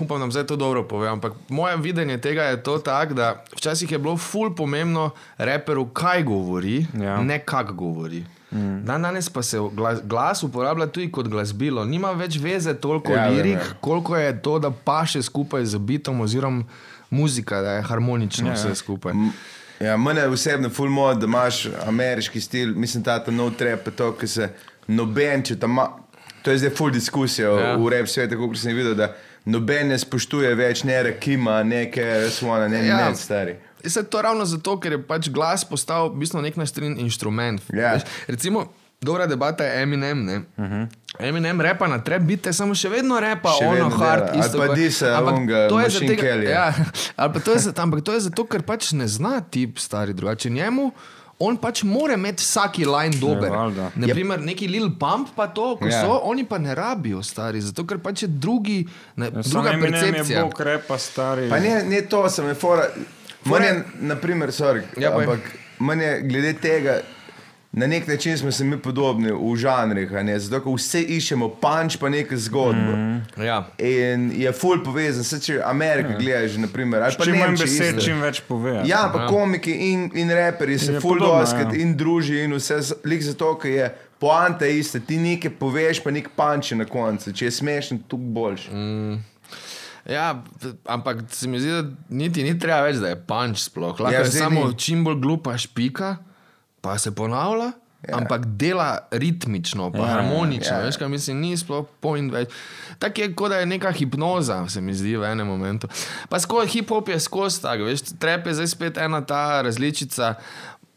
Upam, da bom zdaj to dobro povem, ampak moje videnje tega je to tako, da včasih je bilo ful pomembno reperu, kaj govori, Ja. ja. ne kako govori. Mm. Dan danes pa se glas, glas uporablja tudi kot glasbilo. Nima več veze toliko Ja, ja, vem, lirik, ja. koliko je to, da paše skupaj z bitom oziroma muzika, da je harmonično ja, vse skupaj. Ja, mene je osebno ful mod, da imaš ameriški stil, mislim, ta ta nov trep, pa to, ki se noben, če tam ima. To je zdaj ful diskusija ja. Ja. v rep svetu, kot sem videl, da noben ne spoštuje več ne Rakima, ne Kesvona, ne ja. Ja. ne stari. Se to ravno zato, ker je pač glas postal v bistvu nek naš strin inštrument. Ja. Mhm. Veš, Recimo, dobra debata je Eminem. Ne? Uh -huh. Eminem repa na treb, bite samo še vedno repa, Še ono vedno hard, dela. Ali isto. pa kot- disa ampak onega to je Machine zato, ker- Kellyja. Ja, (laughs) ali pa to je zato, ampak to je zato, ker pač ne zna tip stari drugače njemu. On pač mora imeti vsaki line dober. Ja, valjda. Naprimer, neki Lil Pump pa to, ko Ja. so, oni pa ne rabijo, stari, zato ker pač je drugi, ne, druga Sam Ja, Eminem percepcija. je bog repa, stari. Pa ne, ne to sem, je fora. Meni je, na primer, sorry, ja, Ja, povej. ampak meni je glede tega, na nek način smo se mi podobni v žanrih, a ne, zato ker vse iščemo panč pa neko zgodbo. Mm. Ja. In je full povezan, se če Amerika ja. gledaš, naprimer, ali pa čim manj Nemčija besed, isto. čim več pove. Ja, pa komiki in, in raperji se Je full podobno, doskrat ja. in druži in vse, z- lik zato, ker je poanta ista, ti nekaj poveš, pa nek panč je na koncu, če je smešen, tu boljši. Mm. Ja, p- ampak se mi zdi, da niti ni treba več, da je panč sploh. Lahko Ja, ja, je zdaj samo ni. ni. čim bolj glupa špika, pa se ponavlja. Ja. Ampak dela ritmično, pa ja, harmonično, ja, ja. veš, kaj mislim, ni sploh point več. Tako je, kot da je neka hipnoza, se mi zdi v enem momentu. Pa skozi hip-hop je skozi tak, veš, trep je zdaj spet ena ta različica.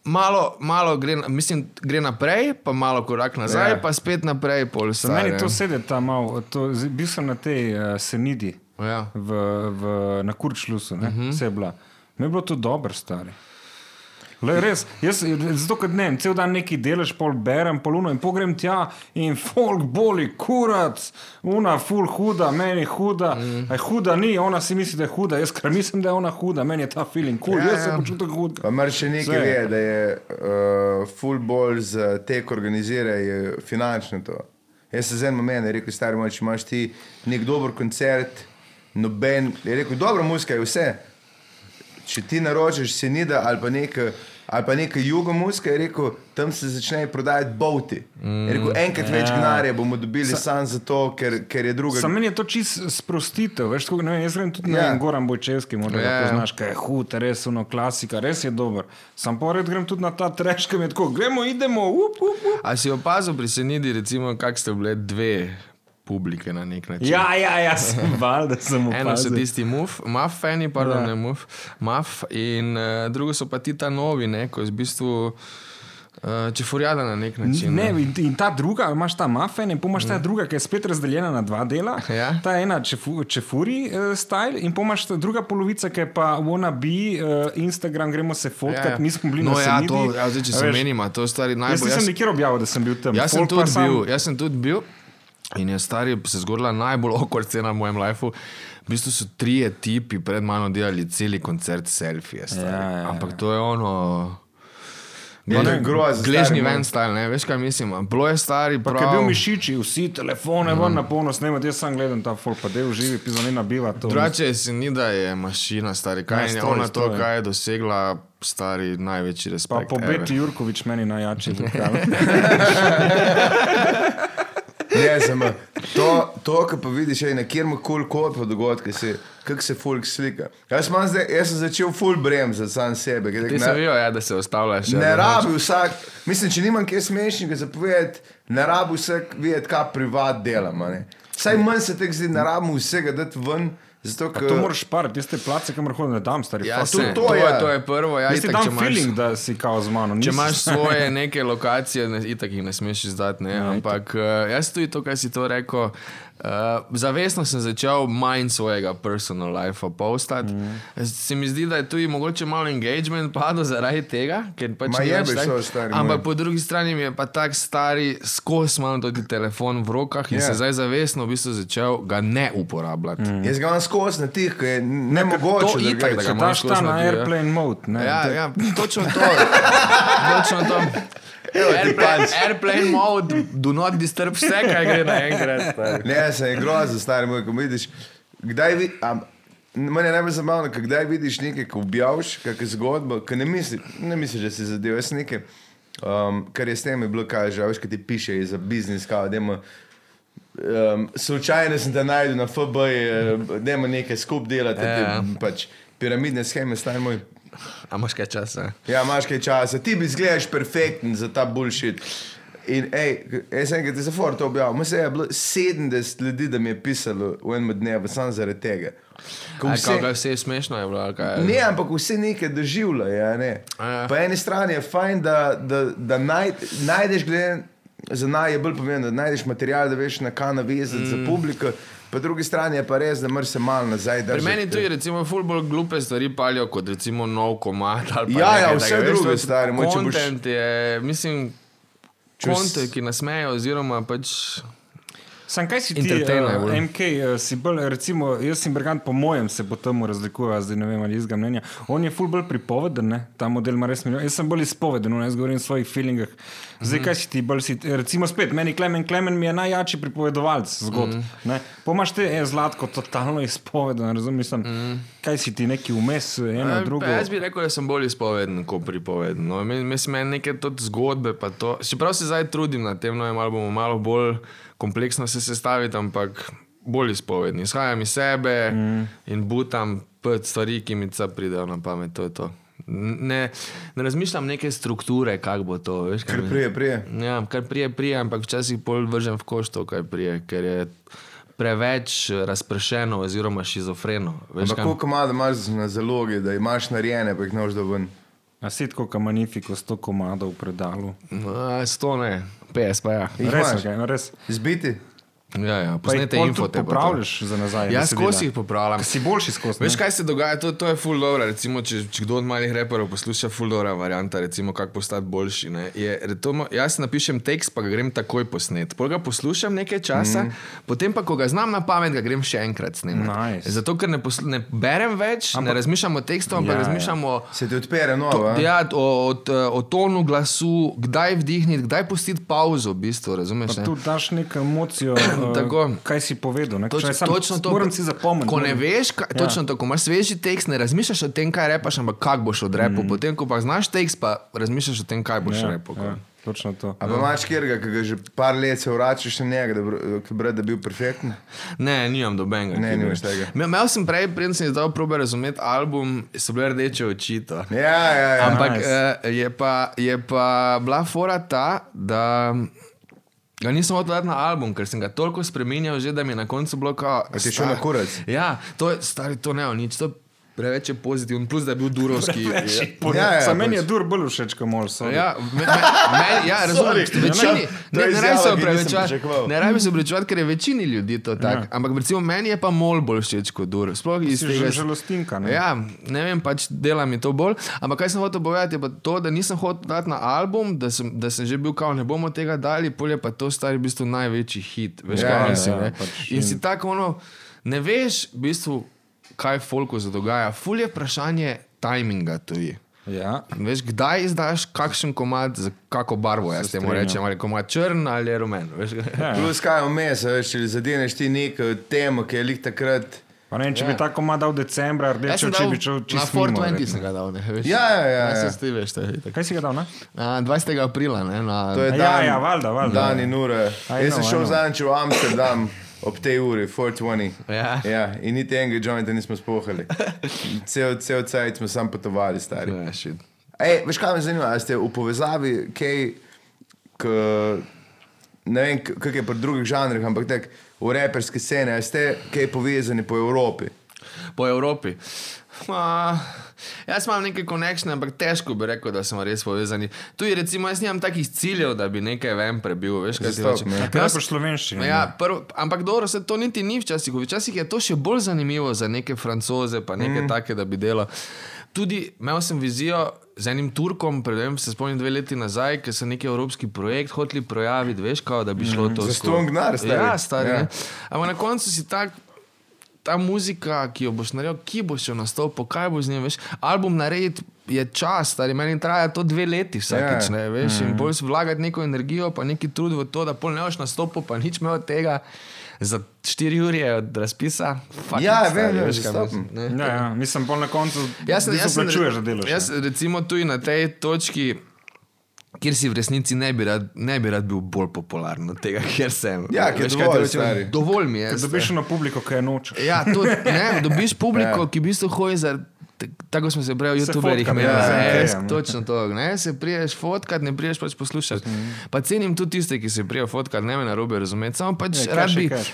Malo, malo gre, na- mislim, gre naprej, pa malo korak nazaj, Ja. ja. pa spet naprej, pol Za stvar. meni to sedi tam malo, to- z- bil sem na tej uh, senidi. Ja. Mhm. v, v, na Kurčlusu, uh -huh. vse je bila. Me je bilo to dobro, stari. Le, res, jaz, zato kot ne, vem, cel dan neki delaš, pol berem, poluno in pogrem tja in folk boli, kurac, una, ful huda, meni huda, Mhm. mm. eh, huda ni, ona si misli, da je huda, jaz ker mislim, da je ona huda, meni je ta feeling kul, cool, Ja, ja, jaz ja. sem počutil hud. Pa mar še nekaj Vse. ve, da je uh, full ball za te, ki organizirajo finančno to. Jaz sem z enim menem rekel, stari moj, če imaš ti nek dober koncert, noben, je rekel, dobro, muska je vse. Če ti naročiš senida ali pa nekaj, ali pa nekaj jugo muska, je rekel, tam se začnejo prodajati bovti. Mm, je rekel, enkrat ja. več denarja bomo dobili samo zato, ker, ker je druga. Sam meni je to čist sprostitev, veš, tako ne vem, jaz grem tudi Ja. na yeah. Goran Bojčevski, morda Ja, yeah. ja. poznaš, kaj je hud, res ono klasika, res je dober. Sam pored grem tudi na ta trash, ki mi je tako, gremo, idemo, up, up, up. A si opazil pri Senidi, recimo, kak ste bile dve publike na nek način? Ja, ja, ja, (laughs) sem val, da sem Eno so opazil. tisti muf, maf, fani, pardon, Ja. ja. ne muf, maf, in uh, drugo so pa ti ta novi, ne, ko je v bistvu uh, čefurjada na nek način. Ne, in, in ta druga, imaš ta mafen, in pol imaš ta druga, ki je spet razdeljena na dva dela. Mm. Ja. Ta ena čefu, čefuri uh, style, in pol imaš ta druga polovica, ki je pa wannabe, uh, Instagram, gremo se fotkati, ja, ja. mi smo bili no, na ja, Senidi. to, ja, zdaj, če se Veš, menimo, to je stari Jaz najbolj. nisem nikjer objavil, da sem bil tam. Jaz sem Folk pa tudi sam- bil, jaz sem tudi bil. In je stari se zgodila najbolj (laughs) okor scena v mojem lifeu. V bistvu so trije tipi pred mano delali cel koncert selfije. stari. Ja, ja, ja. Ampak to je ono. Ja, to je grozno, Gležni stari, ven stal, ne veš kaj mislim. Bilo je stari, Ker je prav. bil mišiči, vsi telefone, mm. na polno snemati, jaz sam gledam ta folk, pa del živi, pizanina biva. to. Drugače se ni, da je mašina, stari. Ja, Kaj je stoji, ona to, stoji. kaj je dosegla, stari največji Pa respekt. ever. pobeti Jurkovič meni (laughs) najjači. lokal. Ne, samo to, to kar pa vidiš, je na kjermu kul kot pa dogodke, se, kak se folk slika. Jaz, imam zdaj, jaz sem začel full brem za sam sebe. ker tako Ti ne- se vijo, ja, da se ostavljaš. ja, Ne da rabi vsak, mislim, če nimam kje smešnega zapovedati, ne rabi vsak vedeti, kaj privat delam. a ne. Vsaj manj se tega zdi, ne rabimo vsega dati ven, zato ker To moraš pariti, tiste place, kamor hodim, ne dam stari. Ja, fuck. se, tudi to to, je. je, to je prvo. Ja, Jaz ti itak, dam če imaš- feeling, da si kao z mano. Če nisi- (laughs) imaš (laughs) svoje neke lokacije, ne, itak jih ne smeš izdati. Ja, Ne? Ampak uh, jaz tudi to, kar si to rekel, uh, zavestno sem začel manj svojega personal life postati. Mhm. Mm. Se mi zdi, da je tudi mogoče malo engagement padel zaradi tega, ker pač Ma ni več jebeš tak- to, stari moj. Ampak po drugi strani mi je pa tak stari, skozi imam tudi telefon v rokah in Ja. Mhm. yeah. se zdaj zavestno v bistvu začel ga ne uporabljati. Mm. jaz ga imam skozi na tih, ki je ne mogoče. to itak, da ga Če imaš daš ta skozi na na ti, ja. airplane mode, ne. Ja, da- ja, točno to. (laughs) točno to. pač. Airplane, airplane mode, do not disturb vse, kaj gre naenkrat. stari. Ne, se je grozno, stari moj, ko vidiš. Kdaj vi, a, meni je najbolj zabavno, ko kdaj vidiš nekaj, ko objaviš, kakšno zgodbo, ki ne misliš, ne misliš, da si zadev. Jaz nekaj, um, kar je s tem je bilo, kaj že, a veš, kaj ti piše za biznis, kaj da ima. Um, slučajno sem te najdel na FB, da ima nekaj skup delati, Ja, ja. yeah. pač piramidne scheme, stari moj. A imaš kaj časa? Ja, imaš kaj časa, ti bi zgledaš perfekten za ta bullshit. In ej, jaz sem enkrat za for to objavil, mislim, da je bilo 70 ljudi, da mi je pisalo v enem dnevu, samo zaradi tega. Ko Aj, vse- Kako je vse smešno je bilo? ali Kaj, Ne, ampak vse nekaj doživlja. Ja, ne. Ja. Po eni strani je fajn, da, da, da naj, najdeš, glede, za naj je bolj pomembno, da najdeš material, da veš na kaj navezati mm. za publiko, po drugi strani je pa res, da mrš se malo nazaj. Pri držati. meni tudi recimo ful bolj glupe stvari palijo kot recimo nov komad ali pa Ja, ja, nekaj vse takega, veš, druge to- stvari, moj, če boš- Content je, mislim, Če s- konte, ki nas mejo oziroma pač... Sam kaj si ti, Entertainer, uh, bolj. MK, uh, si bolj, recimo, jaz in Bergant, po mojem, se po temu razlikuje, zdaj ne vem ali izga mnenja. On je ful bolj pripoveden, ne? ta model ima res milijon. Jaz sem bolj izpoveden, no, jaz govorim o svojih feelingah. Zdaj, kaj si ti, bolj si, recimo spet, meni Klemen Klemen mi je najjači pripovedovalec zgodb. Mm. Pomaš te, je zlatko, totalno izpoveden, razumem, mm. kaj si ti, neki vmes, eh, eno, Ja, drugo. pa Jaz bi rekel, da sem bolj izpoveden kot pripoveden. No, men- Mislim, meni neke tudi zgodbe, pa to. Čeprav se zdaj trudim na tem novem albumu, malo bolj kompleksno se sestaviti, ampak bolj izpoveden. Izhajam iz sebe mm. in butam pet stvari, ki mi ca pridejo na pamet. To je to. N- Ne, ne razmišljam neke strukture, kako bo to. Veš, kaj Kar mi- prije, prije. Ja, kar prije, prije, ampak včasih bolj vržem v koš to, kar prije, ker je preveč eh, razpršeno oziroma šizofreno. Veš, Ampak kaj- koliko komada imaš na zalogi, da imaš narejene, pa jih nož da ven. A si tako, kot Magnifico, sto komadov v predalu. No, 100 ne, 50 pa ja. Jih Res, imaš? okay, res. Zbiti? Ja, ja, Pa jih poznate pol info, tudi te popravljaš za nazaj. Ja, besedila. skozi jih popravljam. Ker Si boljši skozi. Veš, kaj se dogaja, to, to je full dobro. Recimo, če, če kdo od malih reperov posluša full dobro varianta, recimo, kako postati boljši. Ne, je, re- to, mo- jaz napišem tekst, pa ga grem takoj posnet. Pol ga poslušam nekaj časa, mm. potem pa, ko ga znam na pamet, ga grem še enkrat snemati. Nice. Zato, ker ne, poslu, ne berem več, ampak, ne razmišljam o tekstu, ampak Ja, ja, ja. razmišljam ja. o. Se ti odpere novo. To, a? ja, o, o, t- o tonu glasu, kdaj vdihniti, kdaj pustiti pauzo, v bistvu, razumeš? ne? Tu daš neko (clears throat) emocijo, eh, Tako. kaj si povedal. ne? Toč, Kaj sam- točno to. Moram si zapomniti. Ko ne moram- veš, kaj, ja. točno tako, imaš sveži tekst, ne razmišljaš o tem, kaj repaš, ampak kako boš odrepil. Mm. Potem, ko pa znaš tekst, pa razmišljaš o tem, kaj boš ja, Ja, repo. ja, Ja. točno to. A pa imaš kjerga, ki ga že par let se vračaš na njega, da, br- ki brat, da bi bil perfekten? Ne, nimam dobenega. Ne, nimaš tega. Imel sem prej, preden sem izdal probe razumeti album, so bile rdeče oči. to. Ja, ja, ja. Ampak Nice. nice. je, pa, je pa bila fora ta, da ga nisem hotel dati na album, ker sem ga toliko spremenjal, že, da mi je na koncu bilo kao. ti je "Star- šel na kurac?" Ja, to je stari, to ne, nič. To preveč je pozitiven, plus da je bil (laughs) durovski. je- Ja, ja, Sam meni pač. je dur bolj všeč, kot mol. sorry. Ja, me, me, me, ja razumem. Sorry. Večini, To ne, je ne izjava, rabim se ki nisem opravičevati, pričakoval. ne rabim se opravičevati, ker je večini ljudi to tako. Ja. Ampak recimo meni je pa mol bolj všeč kot dur. Sploh iz Si tega že žalostinka. ne? Ja, ne vem, pač dela mi to bolj. Ampak kaj sem hotel povedati, je pa to, da nisem hotel dati na album, da sem, da sem že bil kao, ne bomo tega dali, polje pa to stari v bistvu največji hit. Veš, Ja, ja, kaj ja, si, ja, ja, pač pač in si tako ono, ne veš v bistvu, kaj folku se dogaja. Ful je vprašanje tajminga tudi. Ja. Veš, kdaj izdaš kakšen komad, za kako barvo, jaz temu strinjam. rečem, ali je komad črn ali je rumen. Veš, (laughs) Ja. Plus kaj vmes, a veš, če zadeneš ti neko temo, ki je lik takrat. Pa Ne, vem, če bi tako ima dal decembra, Ja. rdeče Jaz sem oči dal bi šel na čisto. mimo, 420 verjetno. sem ga dal, ne veš. Ja, ja, ja, Jaz ja. sem ti veš, to je itak. Kaj si ga dal? Ne? Na 20. aprila, ne, na, To je Ja, dan, ja, valjda, no, valjda. dan in ure. I Jaz sem know, I šel know. zadnjič v Amsterdam ob tej uri, 420. Ja. ja in niti enega jointa nismo (laughs) spohali. Cel, cel cajt smo sam potovali, stari. Ja, shit. Ej, veš, kaj me zanima, ali ste v povezavi kaj, k, ne vem, k- kako je pri drugih žanrih, ampak tek, v reperski sceni, ali ste kaj povezani po Evropi? Po Evropi. Ma, jaz imam neke konekšne, ampak težko bi rekel, da smo res povezani. Tu je recimo, jaz nimam takih ciljev, da bi nekaj ven prebil, veš, kaj se Stop, hoče. ne. Kaj je po slovenščini? Ja, prv, ampak dobro, se to niti ni včasih. Včasih je to še bolj zanimivo za neke francoze, pa nekaj mm. take, da bi delal. Tudi imel sem vizijo z enim Turkom, predvsem se spomnim dve leti nazaj, ker so neki evropski projekt hoteli projaviti, veš, kao, da bi šlo mm. to. Za skozi. ston gnar, stari. Ja, stari. Ja. Ja. Ampak na koncu si tak. Ta muzika, ki jo boš naredil, ki boš jo nastopil, kaj boš z njim, veš. Album narediti je čas, ali meni traja to dve leti vsakič, Ja. ne veš. In bolj si vlagati neko energijo, pa neki trud v to, da pol ne boš nastopil, pa nič me od tega. Za štiri ure od razpisa. Fucking Ja, stari, vem, vem, veš, kaj zastopim. mislim, ne. Ja, ja, mislim, pol na koncu Jaz sem, jaz sem, plačuješ, da delaš. Jaz, ne. recimo, tudi na tej točki, kjer si v resnici ne bi rad, ne bi rad bil bolj popularen od tega, kjer sem. Ja, ker Veš, dovolj, kaj ti rečem? stari. Dovolj mi je. Ker dobiš eno publiko, ki je noče. Ja, to, ne, dobiš publiko, ki v bistvu hoje za. t- Tako smo se prej v Se YouTuberih fotkam, imeli, ja, z ne, NK-jem, ne, ne. točno to. Ne, se priješ fotkat, ne priješ pač poslušati. Pa cenim tudi tiste, ki se prijejo fotkat, ne me na robe razumeti, samo pač Ja, rad cash je bi. cash.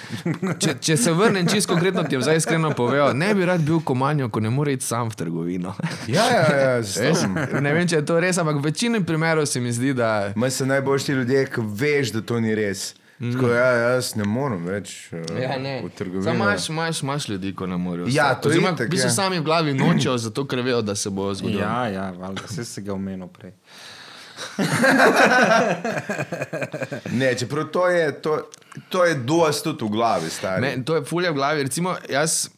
Če, če se vrnem čisto konkretno, ti je zdaj iskreno povedal, ne bi rad bil komanjo, ko ne more iti sam v trgovino. Ja, ja, ja, (laughs) Veš, zastopim. ne vem, če je to res, ampak v večini primerov se mi zdi, da Maj so najboljši ljudje, ki veš, da to ni res. Mm. Tako, ja, jaz ne morem več eh, Ja, ne. v Samo trgovini. imaš, imaš, imaš ljudi, ko ne morejo. Ja, ostati. to je Oziroma, itak, v bistvu ja. sami v glavi nočejo, zato ker vejo, da se bo zgodilo. Ja, ja, valjda, vse si ga omenil prej. Ne, čeprav to je, to, to je dosti tudi v glavi, stari. Me, to je fulje v glavi. Recimo, jaz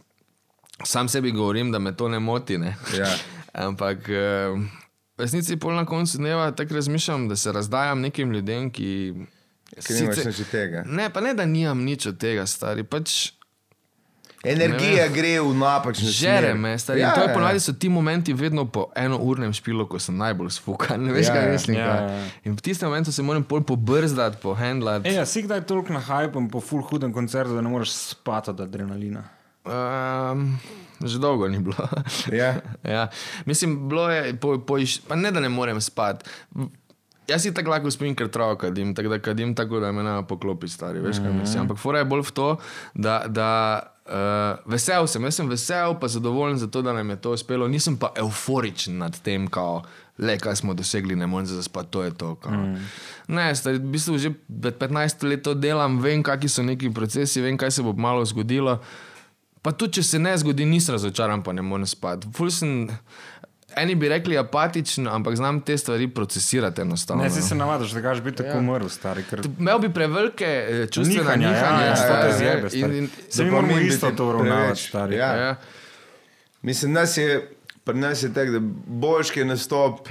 sam sebi govorim, da me to ne moti. Ne? Ja. (laughs) Ampak eh, v resnici pol na koncu dneva tako razmišljam, da se razdajam nekim ljudem, ki. Ker nimaš nič od tega. Ne, pa ne, da nimam nič od tega, stari. Pač Energija gre v napačno smer. žere me, stari. Ja, to je ponovadi so ti momenti vedno po enournem špilu, ko sem najbolj sfukan. Ne veš, Ja, ja, kaj ja. mislim. Ja, Ja, ja, ja. ja. In v tistem momentu se moram pol pobrzdati, pohendlati. E, ja, si kdaj toliko na hajpom po full hudem koncertu, da ne moreš spati od adrenalina. Um, že dolgo ni bilo. Ja. (laughs) ja. Mislim, bilo je, po, po, iš- pa ne da ne morem spati. Jaz si tako lahko spim, ker travo kadim, tako da kadim tako, da me na poklopi stari, veš kaj mislim. Ampak fora je bolj v to, da, da uh, vesel sem, jaz sem vesel, pa zadovoljen zato, da nam je to uspelo, nisem pa euforičen nad tem, kao, le kaj smo dosegli, ne morem zaspati, to je to. Kao. Ne, stari, v bistvu že pet- 15 let to delam, vem, kakšni so neki procesi, vem, kaj se bo malo zgodilo. Pa tudi, če se ne zgodi, nisem razočaran, pa ne morem spati. Ful sem, eni bi rekli apatičen, ampak znam te stvari procesirati enostavno. no. Ne, si se navadiš, da gaš biti tako umrl, stari. Ker... Imel bi prevelike eh, čustvena Nihanja, nihanja, ja, ja, ja, stari, ja, zjebe, in- in- stari. Se mi dopamin moramo bi isto ti to uravnavati, preveč, stari. ja. ja. Mislim, nas je, pri nas je tako, da boljški nastop,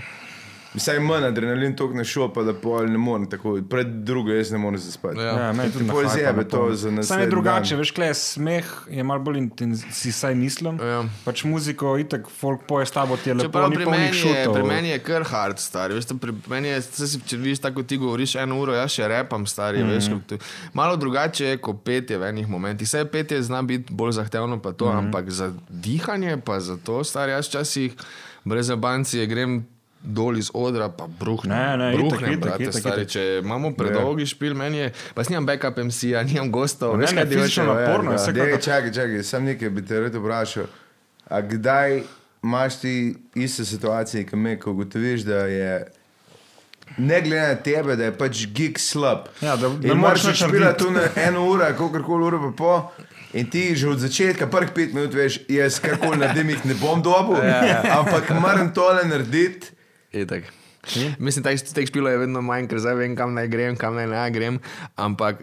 vsaj manj adrenalin tok ne šopa, da pol ne morem tako, pred drugo jaz ne morem zaspati. Ja. Ja, meni Ti tudi pol nahajpa zjebe na to polno. za Samo je naslednji drugače, dan. veš, kle smeh je malo bolj intenziven, si saj mislim. Ja. Pač muziko, itak, folk poje s tabo, ti je lepo, Čeprav ni pri polnih meni, je, šutov. pri meni je kar hard, star. Veš, to pri meni je, saj si, če vidiš tako, kot ti govoriš eno uro, jaz še repam, star. Mm. Mhm. Veš, kako to- Malo drugače je kot petje v enih momentih. Vse petje zna biti bolj zahtevno, pa Mhm. to, mm. ampak za dihanje, pa za to, star. Jaz včasih brez abancije grem. Dol iz odra, pa bruhnem. Ne, ne, itak, bruhnem, itak, brate, itak, itak. stari, Ja. Če imamo predolgi špil, meni je, pa s njim backup MC-ja, nimam gostov, Ne, veš, ne, kaj ti hočeš. fizično naporno je Ja, vsekakor. Dej, čakaj, čakaj, sam nekaj bi te rad vprašal. A kdaj imaš ti iste situacije, ki me, ko ugotoviš, da je ne glede na tebe, da je pač gig slab. Ja, da- da ne moreš moraš nič špilati narediti. tu na eno uro, kakorkoli uro pa po. In ti že od začetka, prvih pet minut, veš, jaz karkoli naredim, jih ne bom dobil, ja. ampak moram tole narediti. Itak. Mislim, da teh špilov je vedno manj, ker zdaj vem, kam naj grem, kam naj ne grem. Ampak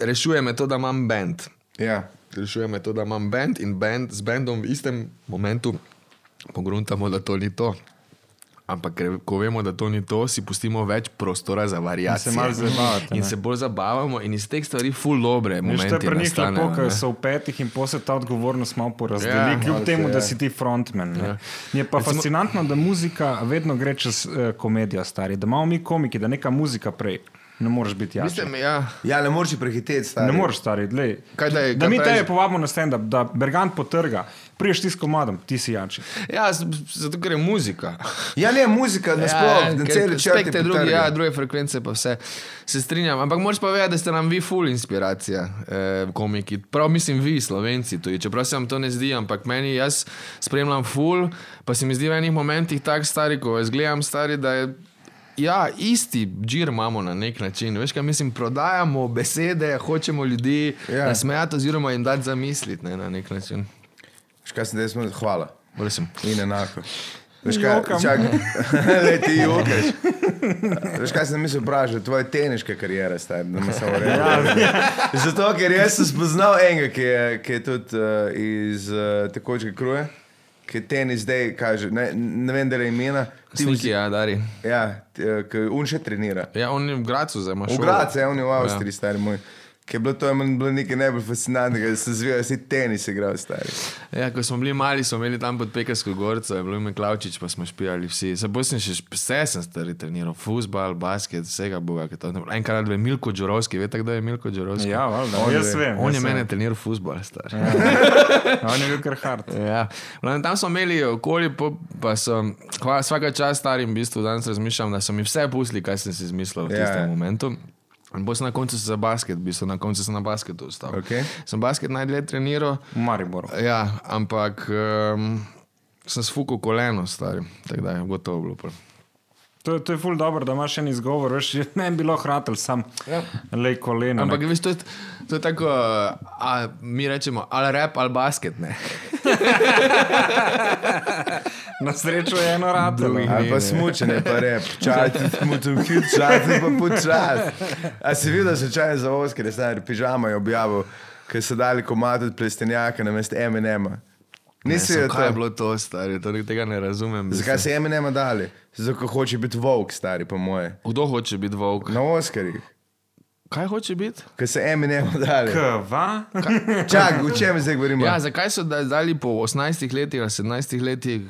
rešuje me to, da imam bend. Ja. Rešuje me to, da imam bend in bend z bendom v istem momentu pogruntamo, da to ni to. Ampak ker, ko vemo, da to ni to, si pustimo več prostora za variacije. malo zabavate, In ne. se bolj zabavamo in iz teh stvari ful dobre. Veš, to je momenti pri njih nastanejo, lepo, ne. ker so v petih in posebej ta odgovornost malo porazdeli, Ja, ja, kljub malce, temu, ja. da si ti frontman. Ja. Je pa Recimo... fascinantno, da muzika vedno gre čez uh, komedijo, stari, da imamo mi komiki, da neka muzika prej. Ne moreš biti jasen. Mislim, ja. ja, ne moreš jih prehiteti, stari. Ne moreš, stari. Dlej, Kaj da je- da kaj mi da je- tebe povabimo na stand-up, da Bergant potrga, priješ ti s komadom, ti si jači. ja, z- zato ker je muzika. Ja, ne, muzika, nasploh, ja, na ker celi črti. spekter drugi, ja, druge frekvence pa vse. Se strinjam, ampak moraš pa vedeti, da ste nam vi ful inspiracija, eh, komiki. Prav mislim vi, slovenci, tudi, čeprav se vam to ne zdi, ampak meni jaz spremljam ful, pa se mi zdi v enih momentih tako stari, ko vas gledam stari, da je Ja, isti džir imamo na nek način. Veš, kaj mislim, prodajamo besede, hočemo ljudi Ja. yeah. nasmejati, oziroma jim dati zamisliti ne, na nek način. Škaj sem, da smo, hvala. Prosim. In enako. Veš kaj, Jokam. čakaj, le ti jokaš. Veš kaj sem mislil vprašati, tvoja teniška karijera, staj, da me samo reče. Zato, ker jaz sem spoznal enega, ki je, ki je tudi uh, iz uh, tekočega kruje, ki je tenis zdaj, kaže, ne, ne vem, da je imena. Ti, Sniki, ja, Dari. ja, ti, eh, ki un še trenira. Ja, on je v Gracu zdaj, imaš. V Gracu, ja, on je v Avstriji, ja. stari moj. Ker je bilo to meni bilo nekaj najbolj fascinantnega, da sem zvedel, da si tenis igral, stari. Ja, ko smo bili mali, smo imeli tam pod Pekarsko gorco, je bilo ime Klavčič, pa smo špijali vsi. Seboj sem še šp- vse sem stari treniral, fusbal, basket, vsega boga. ke to ne- Enkrat je Milko Džurovski, veste kdo je Milko Džurovski? Ja, valjda. On Jaz je- vem. On jaz je vem. mene treniral fusbal, star. Ja. On je bil kar hard. (laughs) Ja. V glavnem, Tam smo imeli okoli, po- pa sem, hvala vsaka čas starim, v bistvu danes razmišljam, da so mi vse pusli, kaj sem si izmislil v Ja, tistem ja. momentu. In bolj sem na koncu za basket, v bistvu na koncu sem na basketu ostal. Okej. Sem basket najdlje treniral. V Mariboru. Ja, ampak um, sem sfukal koleno, stari. Tako da je gotovo bilo. pol. To, je- to je ful dobro, da imaš en izgovor, veš, je meni bilo hratel sam, ja. lej koleno. Ampak veš, to je, to je tako, a, mi rečemo ali rap ali basket. (laughs) Ne? Na srečo je eno ratelo. Drugi. Ali Ne, ne. pa smučene, pa rep, čati, smučem hit, čati pa počas. A si videl, da so čaj za Oskar, stari pižama je objavil, ker so dali komat od plestenjaka na mest M&M-a. Nisi Ne, videl kaj je to? bilo to, stari, to, tega ne razumem. Zakaj se M&M-a dali? Zato, ker hoče biti volk, stari, po moje. Kdo hoče biti volk? Na Oskarjih. Kaj hoče biti? Ker se M&M-a dali. Kva? Čakaj, v čem zdaj govorimo? Ja, zakaj so da, dali po 18 letih ali 17 letih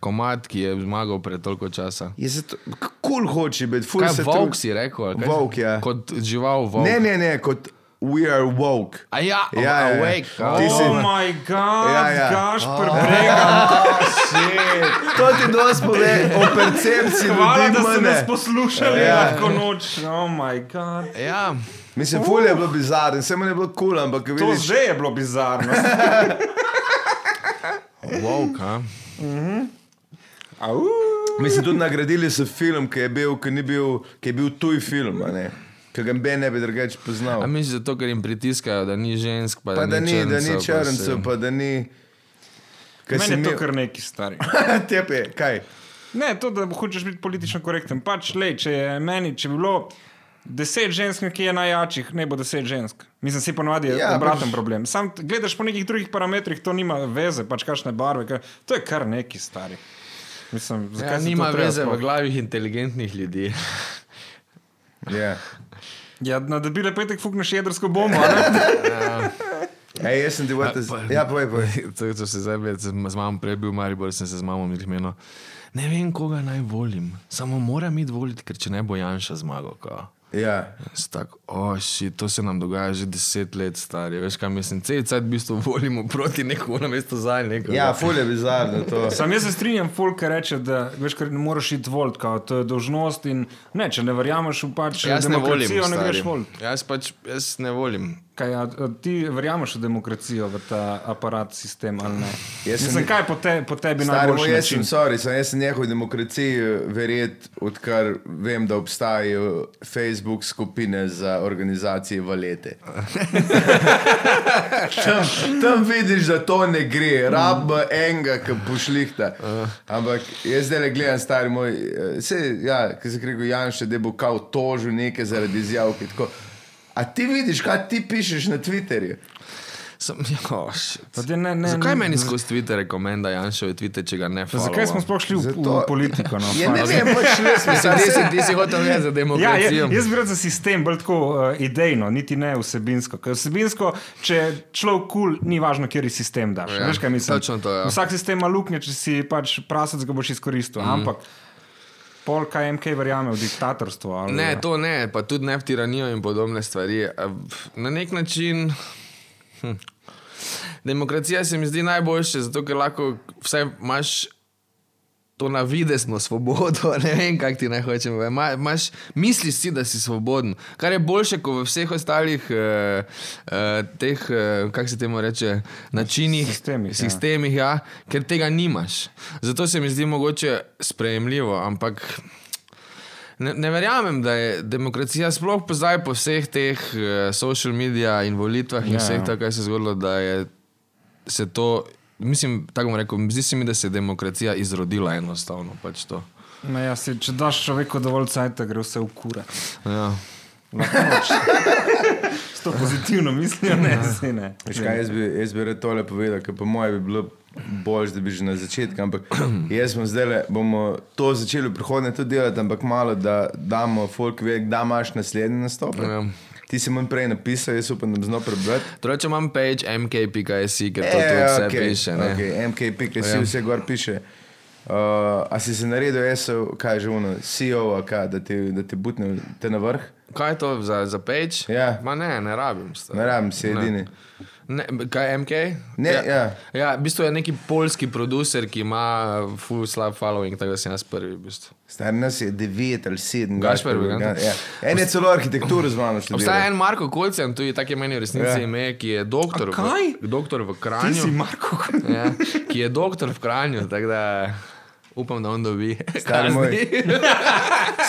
komat, ki je zmagal pred toliko časa? Je zato, kul hoče biti, ful Kaj se volk trudi. si rekel? ali kaj? Volk, ja. Kot žival volk. Ne, ne, ne, kot We are woke. A ja, Ja, ja, ja. awake. Oh. Oh Ti si- moj bog, Ja, ja, ja. ja. Gašper (laughs) Bregan, To ti dosti pove (laughs) o percepciji hvala, ljudi da ste mene. nas poslušali Ja. ja. lahko noč. Oh moj bog. Ja, Mislim, fulje je bilo bizarno, vse mi je bilo kul, cool, ampak ko To vidiš, že je bilo bizarno. woke, a? Au. mi se tudi nagradili so film, ki je bil, ki ni bil, ki je bil tuj film, a ne, ki ga ben ne bi drugače poznal. A misliš, zato ker jim pritiskajo, da ni žensk, pa, Oh. Pa da ni, da ni črncev, Pa pa da ni. Kaj Meni si je mi? to kar neki stari. (laughs) Tepe, kaj? Ne, to, da hočeš biti politično korekten. Pač, lej, če je meni, če bi bilo deset žensk, ki je najjačih, ne bo deset žensk. Mislim, si ponovadi je Ja, ja, obraten pač- pač... problem. Sam t- gledaš po nekih drugih parametrih, to nima veze, pač kakšne barve. Kaj, to je kar neki stari. Mislim, se- zakaj Ja, se to nima treba veze v sploh- glavih inteligentnih ljudi. (laughs) Yeah. Ja, na debile petek fukneš jedrsko bombo. a (laughs) ne? Ej, jaz sem ti vrtel. pa- Ja, povej, povej. to je to se zdaj med, z mamo prej bil v Mariboru, sem se z mamo menil. Ne vem, koga naj volim, samo moram iti voliti, ker če ne bo Janša zmagal. kao. Ja. Jaz Tako, oši, to se nam dogaja že deset let, stari. Veš, kaj mislim, cel cel v bistvu volimo proti nekomu, namesto za nekoga. Ja, fulje je bizarno (laughs) to. Sam jaz se strinjam, folk ki reče, da veš, kar ne moreš iti volt, kao, to je dožnost in ne, če ne verjameš v pač jaz ne volim. demokracijo, ne stari. greš volt. Jaz pač jaz ne volim. Kaj, a, a ti verjameš v demokracijo, v ta aparat, sistem ali ne? Jaz sem- Mislim, kaj po, te, po Stari tebi moj, najbolj jaz sem, način? sorry, sem, jaz sem njihov demokraciji verjet, odkar vem, da obstajajo Facebook skupine za organizacije valete. (laughs) tam, tam vidiš, da to ne gre, rab enega, ki (laughs) pošlihta. Ampak jaz zdaj le gledam, stari moj, eh, saj, ja, ki se reče, Janša, da bo kao tožil nekaj zaradi izjav. ki tako- A ti vidiš, kaj ti pišeš na Twitterju? Sem, jo, shit. Pa te ne- ne- Zakaj ne- meni skozi Twitter rekomenda Janševi tvite, če ga ne Pa followam? Zakaj smo sploh šli v, Zato- v politiko? No, Ja, ne fakt. vem, pač le smo Mislim, ti se. si- Ti si hotel reči za (laughs) Ja, demokracijo. jaz, jaz bi rad za sistem, bolj tako uh, idejno, niti ne vsebinsko. Ker vsebinsko, če človek kul, cool, ni važno, kjer je sistem daš. Ja, Ja, Veš, kaj mislim? točno to, ja. Vsak sistem ima luknje, če si pač prasec, ga boš Mhm. izkoristil. Mm. Ampak pol KMK verjame v diktatorstvo. Ali, Ne, to ne, pa tudi ne v tiranijo in podobne stvari. A, pf, Na nek način. hm, Demokracija se mi zdi najboljše, zato ker lahko vsaj imaš to navidezno svobodo, (laughs) ne vem, kaj ti naj hočem. povedati. Ma, imaš, misliš si, da si svoboden, kar je boljše kot v vseh ostalih eh, eh, teh, eh, kako se temu reče, načinih, Sistemih, ja. sistemih ja, ker tega nimaš. Zato se mi zdi mogoče sprejemljivo, ampak. Ne, ne verjamem, da je demokracija sploh po zdaj, po vseh teh uh, social medijih in volitvah in Ja, yeah. vseh ja. tega, kar se je zgodilo, da je se to, mislim, tako bom rekel, zdi se mi, da se je demokracija izrodila enostavno. Pač to. Ma ja, si, če daš človeku dovolj cajta, gre vse v kura. ja. S to pozitivno mislijo, ne, si ne. Veš Kaj, jaz, bi, jaz bi rad tole povedal, ker po mojem bi bilo bolj, da bi že na začetku, ampak (clears throat) jaz smo zdaj le, bomo to začeli v prihodnje tudi delati, ampak malo, da damo folk vedeti, da imaš naslednji nastop. Ja. Ti si manj prej napisal, jaz upam, da bom znal prebrati. Torej, če imam page mk.si, ker to e, tudi vse okay, piše. ne. Ja. Okay, MKP, ki si vse gor piše. Uh, a si se naredil, jaz, kaj je že uno, CEO, a kaj, da ti, da ti butne te na vrh? Kaj je to za, za page? Ja. Ma ne, ne rabim. stari. Ne rabim, si edini. Ne, kaj je MK? Ne, ja. ja, v bistvu je neki polski producer, ki ima eh, full slab following, tako da sem jaz prvi. V bistvu. Star nas je 9 ali 7, Gašper Bergant. Ja. En je celo arhitekturo z mano študiral. Obstaja en Marko Kolcem, tudi tako je meni v resnici Ja. ja. ime, ki je doktor, A kaj? V, doktor Ti v si Kranju. Marko. Ja, ki je doktor v Kranju, tako da upam, da on dobi. Stari kazni. moj.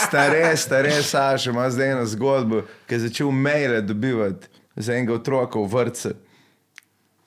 Stare, stare Saša ima zdaj eno zgodbo, ki je začel maile dobivati za enega otroka v vrtcu. (laughs)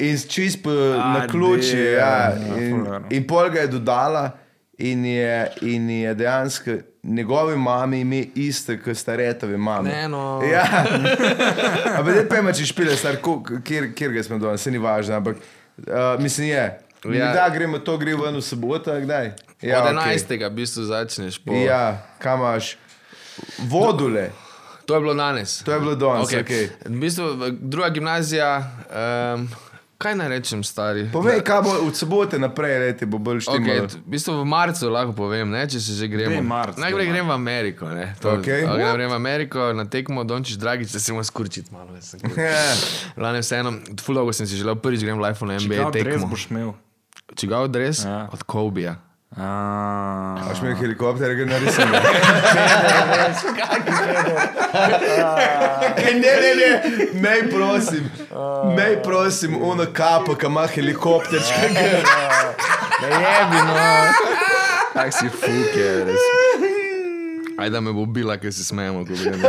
In čist po- na ključi, dear. ja. In, no, ful dobro. in pol ga je dodala, in je, in je dejansko njegovi mami ime isto, kot staretovi mami. Ne, no. Ja. Ampak zdaj pa imaš špile, star, ko- kjer, kjer ga smo danes, se ni važno. Ampak Uh, mislim, je. Ja. Ja. Da gremo to, gre ven v soboto, kdaj? Ja, Ja, Od okej. 11. Okay. v bistvu začneš. Po... Ja, kamaš. Vodule, To je bilo danes. to je bilo danes. Okej. Okay. Okay. V bistvu, v- druga gimnazija, um, kaj naj rečem, stari? Povej, kaj bo od sobote naprej, leti bo bolj štimalo. eh, Okay, v bistvu v marcu lahko povem, ne, če se že gremo. Daj marec, Najprej daj grem v Ameriko. ne, to- Okej. ok, Grem v Ameriko, na tekmo Dončić Dragič, da se mu skurčiti malo. jaz (laughs) sem kurčil. Ja. Lani vseeno, ful dolgo sem si želel, prvič grem live na NBA Kaj res tekmo. boš imel? Čigav dres? Ja. Od Kobija. A, Aš imel helikopter, ga narisam. ne, ne, ne, ne, prosim, ne, prosim, ono kapo, ki ima helikopter, ki ga Ne jebi, no. Tak si fuke, res. Ajde, da me bo bila, ker se smejemo, ko gremo.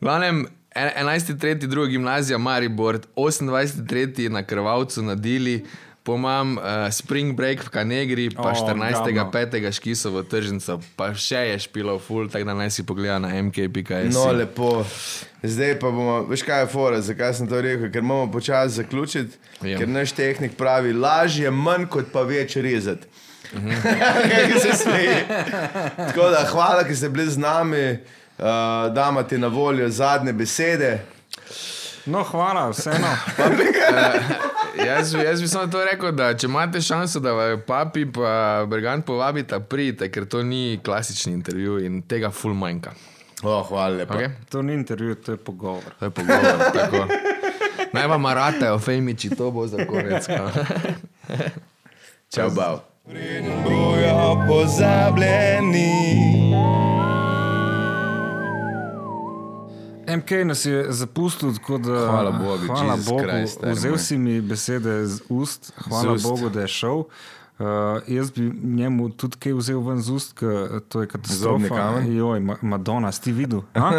V glavnem, en- 11.3. druga gimnazija Maribor, 28.3. na Krvavcu na Dili, pomam uh, Spring Break v Kanegri, O, pa 14.5. Škisovo tržnico, pa še je špilo full, tako da naj si pogleda na mk.js. No, lepo. Zdaj pa bomo, veš kaj je fora, zakaj sem to rekel, ker moramo počasi zaključiti, Ja. yeah. ker naš tehnik pravi, lažje manj kot pa več rezati. (laughs) Kaj se smeji. Tako da hvala, ker ste bili z nami, uh, dama ti na voljo zadnje besede. no, hvala, vseeno. jaz, bi- jaz bi samo to rekel, da če imate šanso, da vaju papi in Bergant povabita, pridite, ker to ni klasični intervju in tega full manjka. Oh, hvala lepa. Okay? To ni intervju, to je pogovor. To je pogovor. tako. Naj vam ratajo, fejmiči, to bo za konec. no. Čau, bav. Preden bojo pozabljeni. MK nas je zapustil, tako da. Hvala Bogu, Hvala Jesus Bogu. Christ, amen. Vzel si mi besede z ust, hvala Z ust. Bogu, da je šel. Uh, jaz bi njemu tudi kaj vzel ven z ust, ker to Zobni je katastrofa. kamen? Joj, Ma- Madonna, si ti videl? (laughs) a?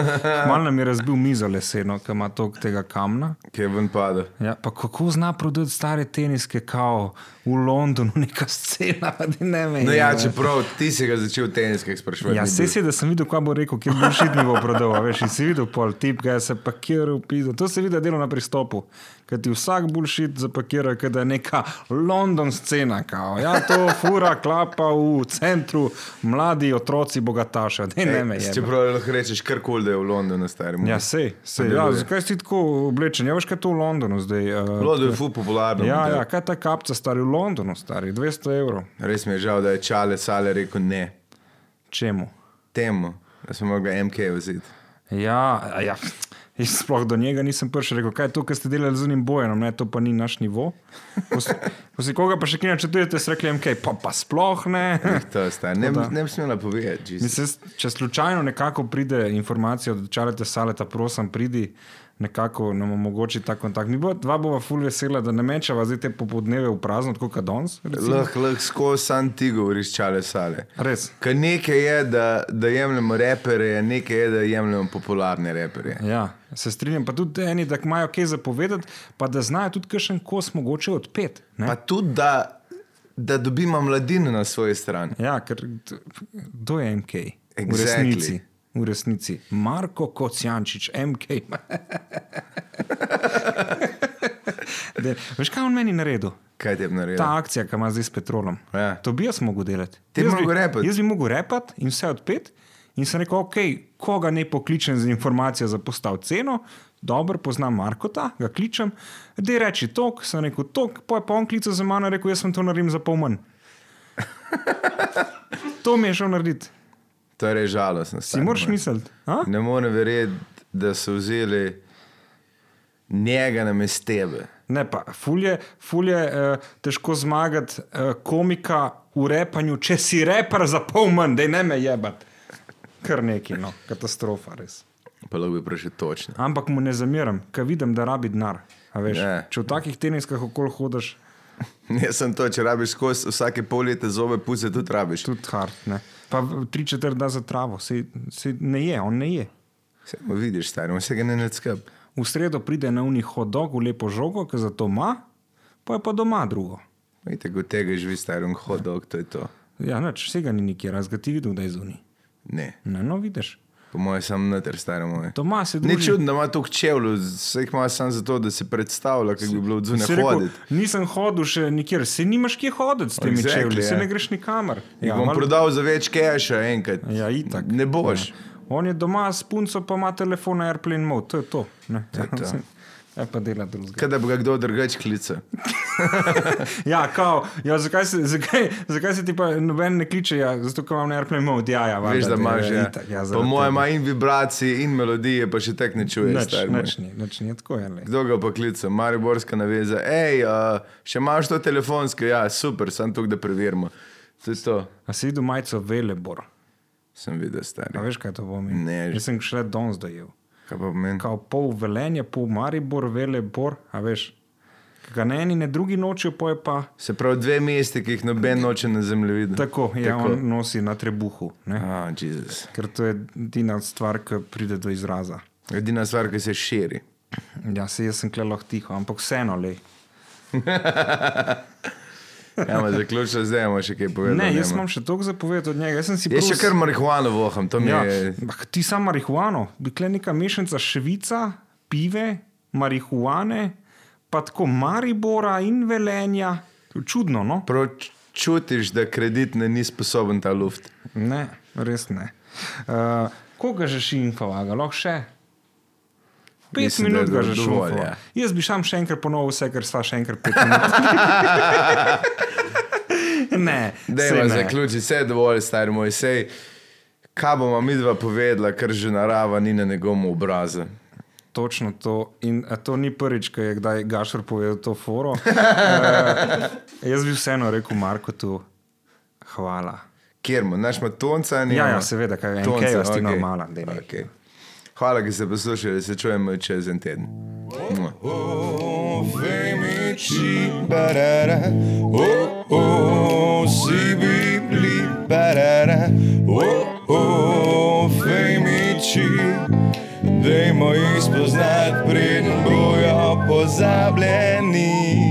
Malo nam je razbil mizo leseno, ki ima toliko tega kamna. Kje je ven padel? Ja, pa kako zna prodati stare teniske, kao v Londonu, neka scena, da ne vem. No ja, čeprav ti si ga začel v teniskih sprašovati. Ja, ni se si, da sem videl, kaj bo rekel, kje bo šitni bo prodal, a veš, in si videl pol tip, kaj se pakira v pizdo. To se vidi, da delo na pristopu, ker ti vsak bullshit zapakira, ker da je neka London scena, kao. Ja, to fura klapa v centru, mladi otroci bogataša, ne, ne me Ej, je. Čeprav lahko rečeš karkoli, da je v Londonu starem. Ja, sej, sej. Ja, deluje. zakaj si ti tako oblečen? Ja, veš, kaj je to v Londonu zdaj? eh, London je ful popularno. ja, ja, kaj je ta kapca, stari v Londonu, stari 200 evrov. Res mi je žal, da je Čale Sale rekel ne Čemu? temu, da smo mogli MK vzeti. Ja, a ja. Jaz sploh do njega nisem prišel, rekel, kaj je to, kar ste delali z unim bojem, ne, to pa ni naš nivo. Ko si koga pa še kaj načrtujete, ste rekli, MK, pa, pa sploh ne. (laughs) To je stvar. Ne, ne bi smela povedati. Jesus. Mislim, s- če slučajno nekako pride informacija od čarete saleta, prosim, pridi. Nekako nam omogoči ta kontakt. Mi bo, dva bova ful vesela, da ne mečeva zdaj te popodneve v prazno, tako kot danes. recimo. Lahko lah, skozi sam ti govoriš Čale Sale. Res. Ker nekaj je, da, da jemljemo repere, nekaj je, da jemljemo popularne repere. Ja, se strinjam, pa tudi eni, da imajo kaj zapovedati, pa da znajo tudi kakšen kos mogoče odpet. ne. Pa tudi, da, da dobimo mladino na svoji strani. Ja, ker t- kdo je MK? V Exactly. resnici. V resnici. Marko Kocijančič, MK. De, veš, kaj je on meni naredil? Kaj ti je naredil? Ta akcija, ki ima zdaj s petrolom. Ja. To bi jaz mogel delati. Ti bi Jaz mogel repat. Jaz bi mogel repet in vse odpet. In sem rekel, ok, koga ne pokličem z informacijo za postav ceno, dobro poznam Markota, ga kličem, da je reči tok, sem rekel tok, pa je pa on klical za mano in rekel, jaz sem to naredim za pol (laughs) manj. To mi je šel narediti. To je res žalostno. Si stari moraš moj. misliti? a? (laughs) Ne morem verjeti, da so vzeli njega na mestebe. Ne pa, fulje, fulje eh, težko zmagati eh, komika v repanju, če si repar za pol manj, da ne me jebat. Kar neki, no, katastrofa res. Pa lahko bi prišel točno. (laughs) Ampak mu ne zamiram, ker vidim, da rabi denar. a veš. Ja. Če v takih teniskah okol hodiš, Jaz sem to, če rabiš skozi vsake pol leta zobe, puce tudi rabiš. tudi hard. Ne? Pa v- tri četrt da za travo, se, se ne je, on ne je. Vse mu vidiš, stari, vse ga ne nadskab. V sredo pride na unih hodog, v lepo žogo, ki za to ima, pa je pa doma drugo. Vidite, kot tega živi stari, on hodok, to je to. Ja, noč, vsega ni nikjer, razgati videl, da je zunaj. Ne. Ne, no, vidiš. Po mojem, sem noter, stari moj. Doma se druži. Ni čudno, da ima toliko čevljev, vse jih ima samo zato, da se predstavlja, kako bi bilo od Si zunaj rekel, hoditi. nisem hodil še nikjer, se nimaš kje hoditi s temi Exactly, exactly, čevlji, se ja. ne greš nikamor. Ja, bom malo- prodal za več keša enkrat. Ja, itak. Ja. Ne boš. On je doma s punco, pa ima telefon na airplane mode, to je to. Ne, to. (laughs) Ja, pa dela drugega. Kaj da bi ga kdo drugač klical? Ja, kao, ja, zakaj, se, zakaj, zakaj se ti pa noben ne kliče? Ja, zato, ker imam na airplane mode, ja, ja, Veš, da imaš ja, že. itak, ja, Po mojem, ima in vibracije, in melodije, pa še tek ne čuješ. nič, stari moj. nič, ni, nič ni tako. Je, Kdo ga pa klica, Mariborska naveza, hej, uh, še imaš to telefonsko, ja, super, sem tu, da preverimo. To je to, A si videl majico Velebor? sem videl, A stari. veš, kaj to pomeni? Ne. Jaz sem šele danes dojel. Kaj pa meni? Kao pol velenje, pol Maribor, Velebor, a veš. Ki Ga ne eni, ne drugi nočijo, pa je pa Se pravi, dve mesti, ki jih noben noče na zemlji videti. tako, ja, tako. on nosi na trebuhu. Ne? Ah, Jezus. Ker to je edina stvar, ki pride do izraza. Edina stvar, ki se širi. Ja, se jaz sem klelo tiho, ampak vseeno le. Ja, ma, zaključno zdaj imamo še kaj povedati. Ne, jaz nema. imam še toliko zapovedati od njega. Jaz sem si Jaz prav še s- kar marihuano voham, to mi Ja, je. ampak ti sam marihuano, bi kle neka mešanica švica, pive, marihuane, pa tako Maribora in velenja. Čudno, no? Prav čutiš, da kredit ne ni sposoben ta luft. Ne, res ne. Uh, koga že šinkava, ga lahko še? Pet Mislim, Mislim, da je minut ga do- že dovolj, šlo. ja. Jaz bi sam še enkrat ponovil vse, kar sva še enkrat pet minut. (laughs) ne, saj Dejva, ne. zaključi, vse je dovolj, stari moj, sej. Kaj bomo mi dva povedala, ker že narava ni na njegovem obrazu. Točno to. In a to ni prvič, ko je kdaj Gašor povedal to foro. (laughs) Eh, jaz bi vseeno rekel Markotu, hvala. Kjer mu, naš ima tonca, ne? Ja, ja, seveda, kaj je MK, jaz ti normalen, daj, daj. Okay. Hvala, ki ste poslušali, se čujemo čez en teden. Mua. Dajmo jih spoznati, preden bojo pozabljeni.